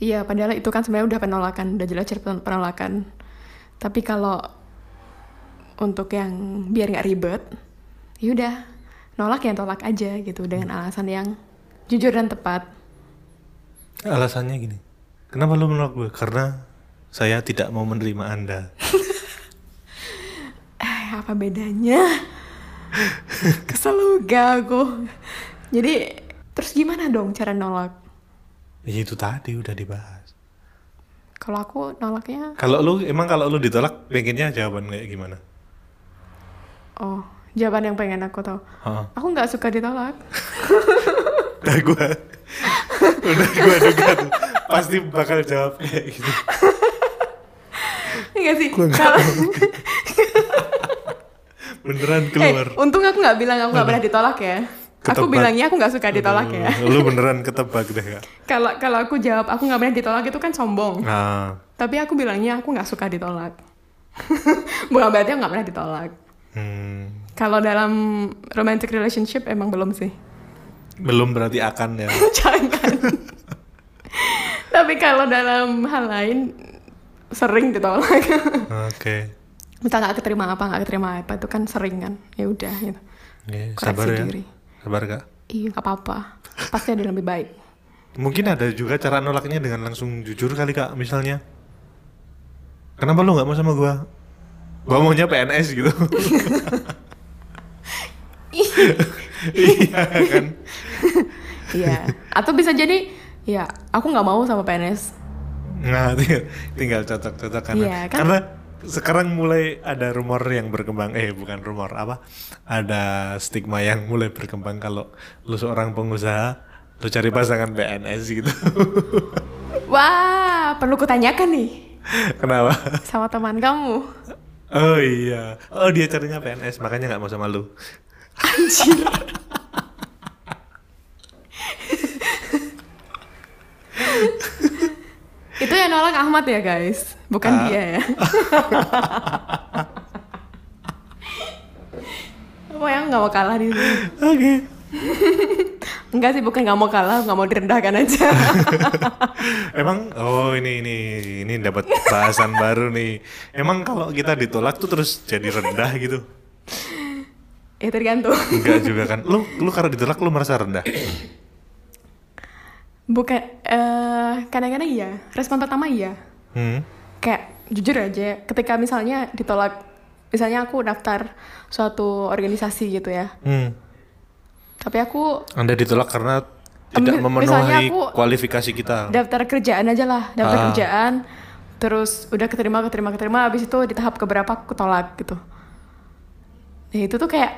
Speaker 1: Iya, padahal itu kan sebenarnya udah penolakan, udah jelas jelas pen- penolakan. Tapi kalau untuk yang biar nggak ribet, yaudah nolak ya tolak aja gitu dengan alasan yang jujur dan tepat.
Speaker 2: Alasannya gini. Kenapa lu menolak gue? Karena saya tidak mau menerima Anda.
Speaker 1: Eh, apa bedanya? Kesel juga aku. Jadi, terus gimana dong cara nolak?
Speaker 2: Ya itu tadi udah dibahas.
Speaker 1: Kalau aku nolaknya,
Speaker 2: Kalau lu emang kalau lu ditolak pengennya jawaban kayak gimana?
Speaker 1: oh, jawaban yang pengen aku tahu.
Speaker 2: Heeh.
Speaker 1: Aku nggak suka ditolak.
Speaker 2: Udah gue udah gue duga tuh. Pasti bakal jawab kayak gitu.
Speaker 1: Enggak Iya sih.
Speaker 2: Gua nggak
Speaker 1: Kalau
Speaker 2: Beneran keluar.
Speaker 1: eh, untung aku nggak bilang aku nggak pernah ditolak ya. Aku
Speaker 2: Ketebak.
Speaker 1: bilangnya aku nggak suka ditolak ya.
Speaker 2: Lu beneran ketebak deh kak.
Speaker 1: Kalau kalau aku jawab aku nggak pernah ditolak itu kan sombong.
Speaker 2: Nah,
Speaker 1: Tapi aku bilangnya aku nggak suka ditolak. Bukan berarti aku nggak pernah ditolak.
Speaker 2: hmm,
Speaker 1: Kalau dalam romantic relationship emang belum sih.
Speaker 2: belum berarti akan ya.
Speaker 1: Jangan. Tapi kalau dalam hal lain sering ditolak.
Speaker 2: Oke.
Speaker 1: Minta nggak keterima apa nggak keterima apa itu kan sering kan. Ya udah. Gitu.
Speaker 2: Oke,
Speaker 1: Koreksi
Speaker 2: sabar ya.
Speaker 1: diri.
Speaker 2: Sabar kak.
Speaker 1: Iya nggak apa-apa. Pasti ada yang lebih baik.
Speaker 2: Mungkin
Speaker 1: Iya.
Speaker 2: ada juga cara nolaknya dengan langsung jujur kali kak, misalnya. Kenapa lu nggak mau sama gua? Gua
Speaker 1: Oh.
Speaker 2: maunya PNS gitu. iya kan.
Speaker 1: Iya. Atau bisa jadi ya aku nggak mau sama PNS.
Speaker 2: Nah, ting- tinggal cocok-cocokan.
Speaker 1: Iya, kan?
Speaker 2: Karena sekarang mulai ada rumor yang berkembang, eh bukan rumor apa, ada stigma yang mulai berkembang kalau lu seorang pengusaha, lu cari pasangan PNS gitu.
Speaker 1: Wah perlu kutanyakan nih
Speaker 2: Kenapa?
Speaker 1: sama teman kamu.
Speaker 2: Oh iya, oh dia carinya PNS, makanya nggak mau sama lu.
Speaker 1: Anjir. Itu yang nolak Ahmad ya guys, bukan
Speaker 2: Ah.
Speaker 1: dia ya. Apa yang nggak mau kalah di sini?
Speaker 2: Oke.
Speaker 1: Enggak sih, bukan nggak mau kalah, nggak mau direndahkan aja.
Speaker 2: Emang oh ini ini ini dapat bahasan baru nih. Emang kalau kita ditolak tuh terus jadi rendah gitu?
Speaker 1: ya tergantung.
Speaker 2: Enggak juga kan? Lu lu karena ditolak lu merasa rendah.
Speaker 1: Bukan, eh, kadang-kadang iya. Respon pertama iya.
Speaker 2: Hmm.
Speaker 1: Kayak jujur aja, ketika misalnya ditolak, misalnya aku daftar suatu organisasi gitu ya.
Speaker 2: Hmm.
Speaker 1: Tapi aku
Speaker 2: Anda ditolak karena
Speaker 1: Em,
Speaker 2: tidak
Speaker 1: misalnya
Speaker 2: memenuhi
Speaker 1: aku-
Speaker 2: kualifikasi kita.
Speaker 1: daftar kerjaan aja lah, daftar
Speaker 2: Ah.
Speaker 1: kerjaan. Terus udah keterima, keterima, keterima. Abis itu di tahap keberapa aku tolak gitu. Nah itu tuh kayak,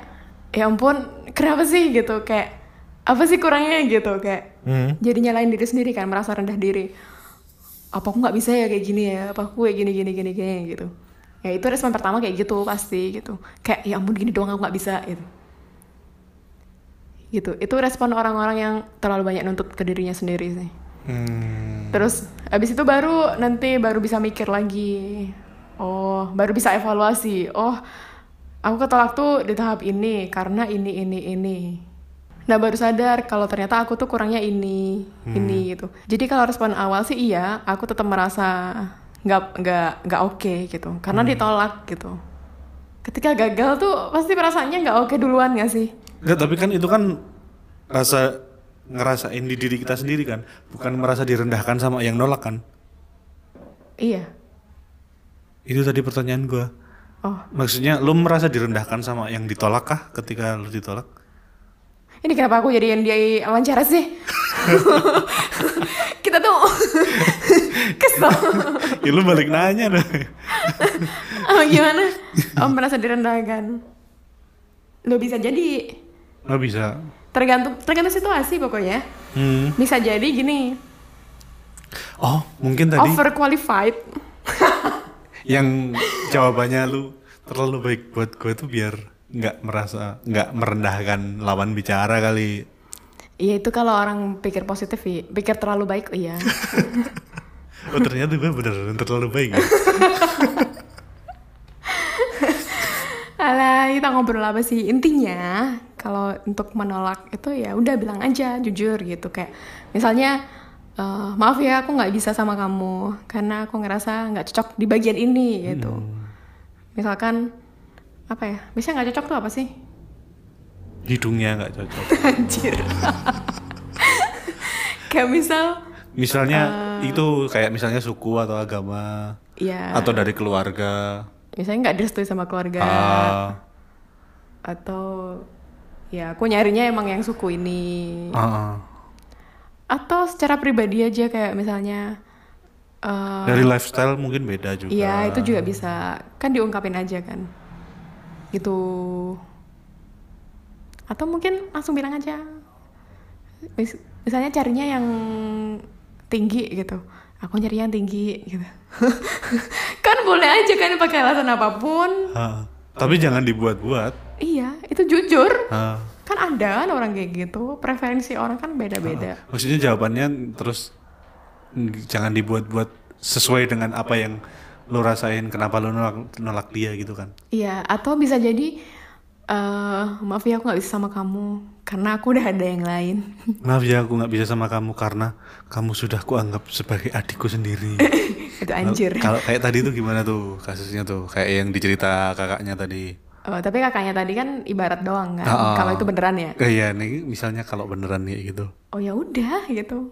Speaker 1: ya ampun, kenapa sih gitu? Kayak apa sih kurangnya gitu? Kayak
Speaker 2: Hmm.
Speaker 1: jadi nyalain diri sendiri kan, merasa rendah diri. Apa aku nggak bisa ya kayak gini ya? Apa aku kayak gini, gini, gini, gini gitu? Ya itu respon pertama kayak gitu pasti gitu. Kayak ya ampun gini doang aku nggak bisa gitu. Gitu. Itu respon orang-orang yang terlalu banyak nuntut ke dirinya sendiri sih.
Speaker 2: Hmm.
Speaker 1: Terus abis itu baru nanti baru bisa mikir lagi. Oh, baru bisa evaluasi. Oh, aku ketolak tuh di tahap ini karena ini ini ini. Nah baru sadar kalau ternyata aku tuh kurangnya ini ini gitu. Jadi kalau respon awal sih iya, aku tetap merasa nggak nggak nggak oke gitu karena ditolak gitu. Ketika gagal tuh pasti perasaannya nggak oke duluan nggak sih?
Speaker 2: Enggak, tapi kan itu kan rasa ngerasain di diri kita sendiri kan, bukan merasa direndahkan sama yang nolak kan.
Speaker 1: Iya.
Speaker 2: Itu tadi pertanyaan gua.
Speaker 1: Oh,
Speaker 2: Maksudnya lu merasa direndahkan sama yang ditolak kah ketika lu ditolak?
Speaker 1: Ini kenapa aku jadi yang dia wawancara sih? Kita tuh kesel.
Speaker 2: ya lu balik nanya dong.
Speaker 1: Apa gimana? Om merasa direndahkan. Lo bisa jadi
Speaker 2: Nggak bisa.
Speaker 1: tergantung tergantung situasi pokoknya.
Speaker 2: Hmm.
Speaker 1: Bisa jadi gini
Speaker 2: Oh, mungkin tadi
Speaker 1: overqualified.
Speaker 2: yang jawabannya lu terlalu baik buat gue tuh biar nggak merasa nggak merendahkan lawan bicara kali.
Speaker 1: Iya itu kalau orang pikir positif, iya. pikir terlalu baik, iya.
Speaker 2: Oh ternyata gue bener terlalu baik. ya?
Speaker 1: Alah, kita ngobrol apa sih? Intinya, kalau untuk menolak itu ya udah bilang aja, jujur gitu. Kayak misalnya, eh, maaf ya aku nggak bisa sama kamu, karena aku ngerasa nggak cocok di bagian ini gitu.
Speaker 2: Hmm.
Speaker 1: Misalkan, apa ya, biasanya nggak cocok tuh apa sih?
Speaker 2: Hidungnya nggak cocok.
Speaker 1: Anjir. Kayak misal,
Speaker 2: Misalnya
Speaker 1: Eh.
Speaker 2: Itu kayak misalnya suku atau agama
Speaker 1: Iya.
Speaker 2: atau dari keluarga.
Speaker 1: Misalnya nggak direstui sama keluarga
Speaker 2: Ah,
Speaker 1: atau ya aku nyarinya emang yang suku ini.
Speaker 2: ah, ah.
Speaker 1: Atau secara pribadi aja kayak misalnya eh,
Speaker 2: Dari Ah. lifestyle mungkin beda juga.
Speaker 1: Iya, itu juga bisa. Kan diungkapin aja kan. Gitu. Atau mungkin langsung bilang aja. Mis- misalnya carinya yang tinggi gitu. Aku nyari yang tinggi gitu. kan boleh aja kan pakai alasan apapun.
Speaker 2: Ah, Tapi jangan dibuat-buat.
Speaker 1: Iya, itu jujur.
Speaker 2: Ah.
Speaker 1: Kan ada kan orang kayak gitu. Preferensi orang kan beda-beda.
Speaker 2: Oh. Maksudnya jawabannya terus mm, jangan dibuat-buat sesuai dengan apa yang lo rasain kenapa lo nolak, nolak dia gitu kan.
Speaker 1: Iya, atau bisa jadi eh maaf ya aku nggak bisa sama kamu karena aku udah ada yang lain.
Speaker 2: Maaf ya aku nggak bisa sama kamu karena kamu sudah kuanggap sebagai adikku sendiri.
Speaker 1: itu anjir.
Speaker 2: Kalau kayak tadi tuh gimana tuh kasusnya tuh kayak yang dicerita kakaknya tadi.
Speaker 1: Oh, tapi kakaknya tadi kan ibarat doang kan.
Speaker 2: Ah, ah.
Speaker 1: Kalau itu beneran ya.
Speaker 2: Eh, Iya nih misalnya kalau beneran kayak gitu.
Speaker 1: Oh ya udah gitu.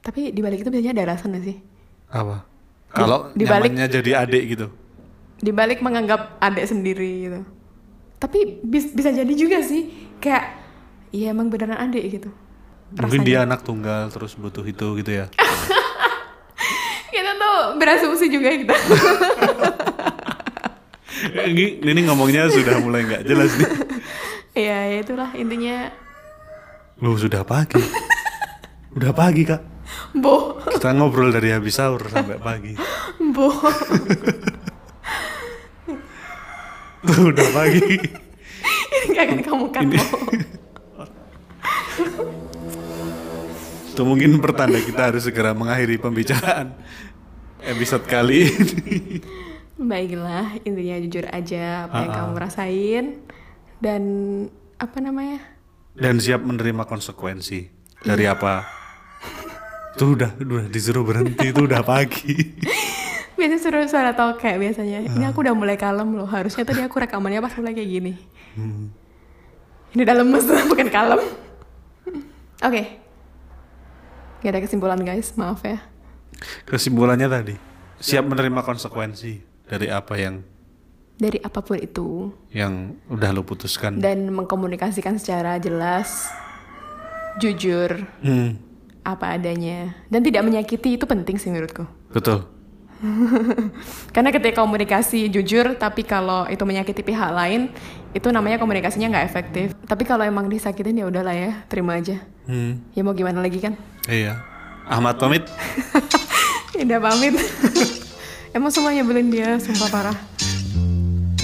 Speaker 1: Tapi di balik itu biasanya ada alasan nggak sih?
Speaker 2: Apa? Kalau
Speaker 1: di balik-
Speaker 2: nyamannya jadi adik gitu.
Speaker 1: Di balik menganggap adik sendiri gitu. Tapi bis- bisa jadi juga sih kayak ya emang beneran adik gitu.
Speaker 2: Mungkin dia anak tunggal terus butuh itu gitu ya.
Speaker 1: Kita tuh berasumsi juga gitu. kita.
Speaker 2: ini, ini ngomongnya sudah mulai nggak jelas nih.
Speaker 1: Iya, ya itulah intinya
Speaker 2: Lu sudah pagi. Udah pagi kak.
Speaker 1: boh
Speaker 2: Kita ngobrol dari habis sahur sampai pagi.
Speaker 1: boh.
Speaker 2: Tuh udah pagi.
Speaker 1: Ini akan kamu kan boh.
Speaker 2: Itu mungkin pertanda kita harus segera mengakhiri pembicaraan episode kali ini.
Speaker 1: Baiklah, intinya jujur aja apa yang
Speaker 2: Ah, ah.
Speaker 1: kamu rasain dan apa namanya?
Speaker 2: Dan siap menerima konsekuensi dari apa? Tuh udah udah disuruh berhenti itu udah pagi.
Speaker 1: Biasanya suruh suara tokek biasanya. Ini aku udah mulai kalem loh. Harusnya tadi aku rekamannya pas mulai kayak gini. Hmm. Ini udah lemes bukan kalem. Oke. Gak ada kesimpulan guys, maaf ya.
Speaker 2: Kesimpulannya tadi siap menerima konsekuensi dari apa yang
Speaker 1: Dari apapun itu
Speaker 2: yang udah lo putuskan.
Speaker 1: dan mengkomunikasikan secara jelas, jujur,
Speaker 2: Hmm,
Speaker 1: apa adanya dan tidak menyakiti itu penting sih menurutku.
Speaker 2: betul.
Speaker 1: Karena ketika komunikasi jujur, tapi kalau itu menyakiti pihak lain, itu namanya komunikasinya nggak efektif. Tapi kalau emang disakitin ya udahlah ya, terima aja.
Speaker 2: Hmm,
Speaker 1: Ya mau gimana lagi kan?
Speaker 2: iya. Ahmad pamit.
Speaker 1: Udah pamit. emang semuanya belin dia, sumpah parah.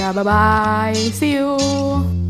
Speaker 1: Ya bye bye, see you.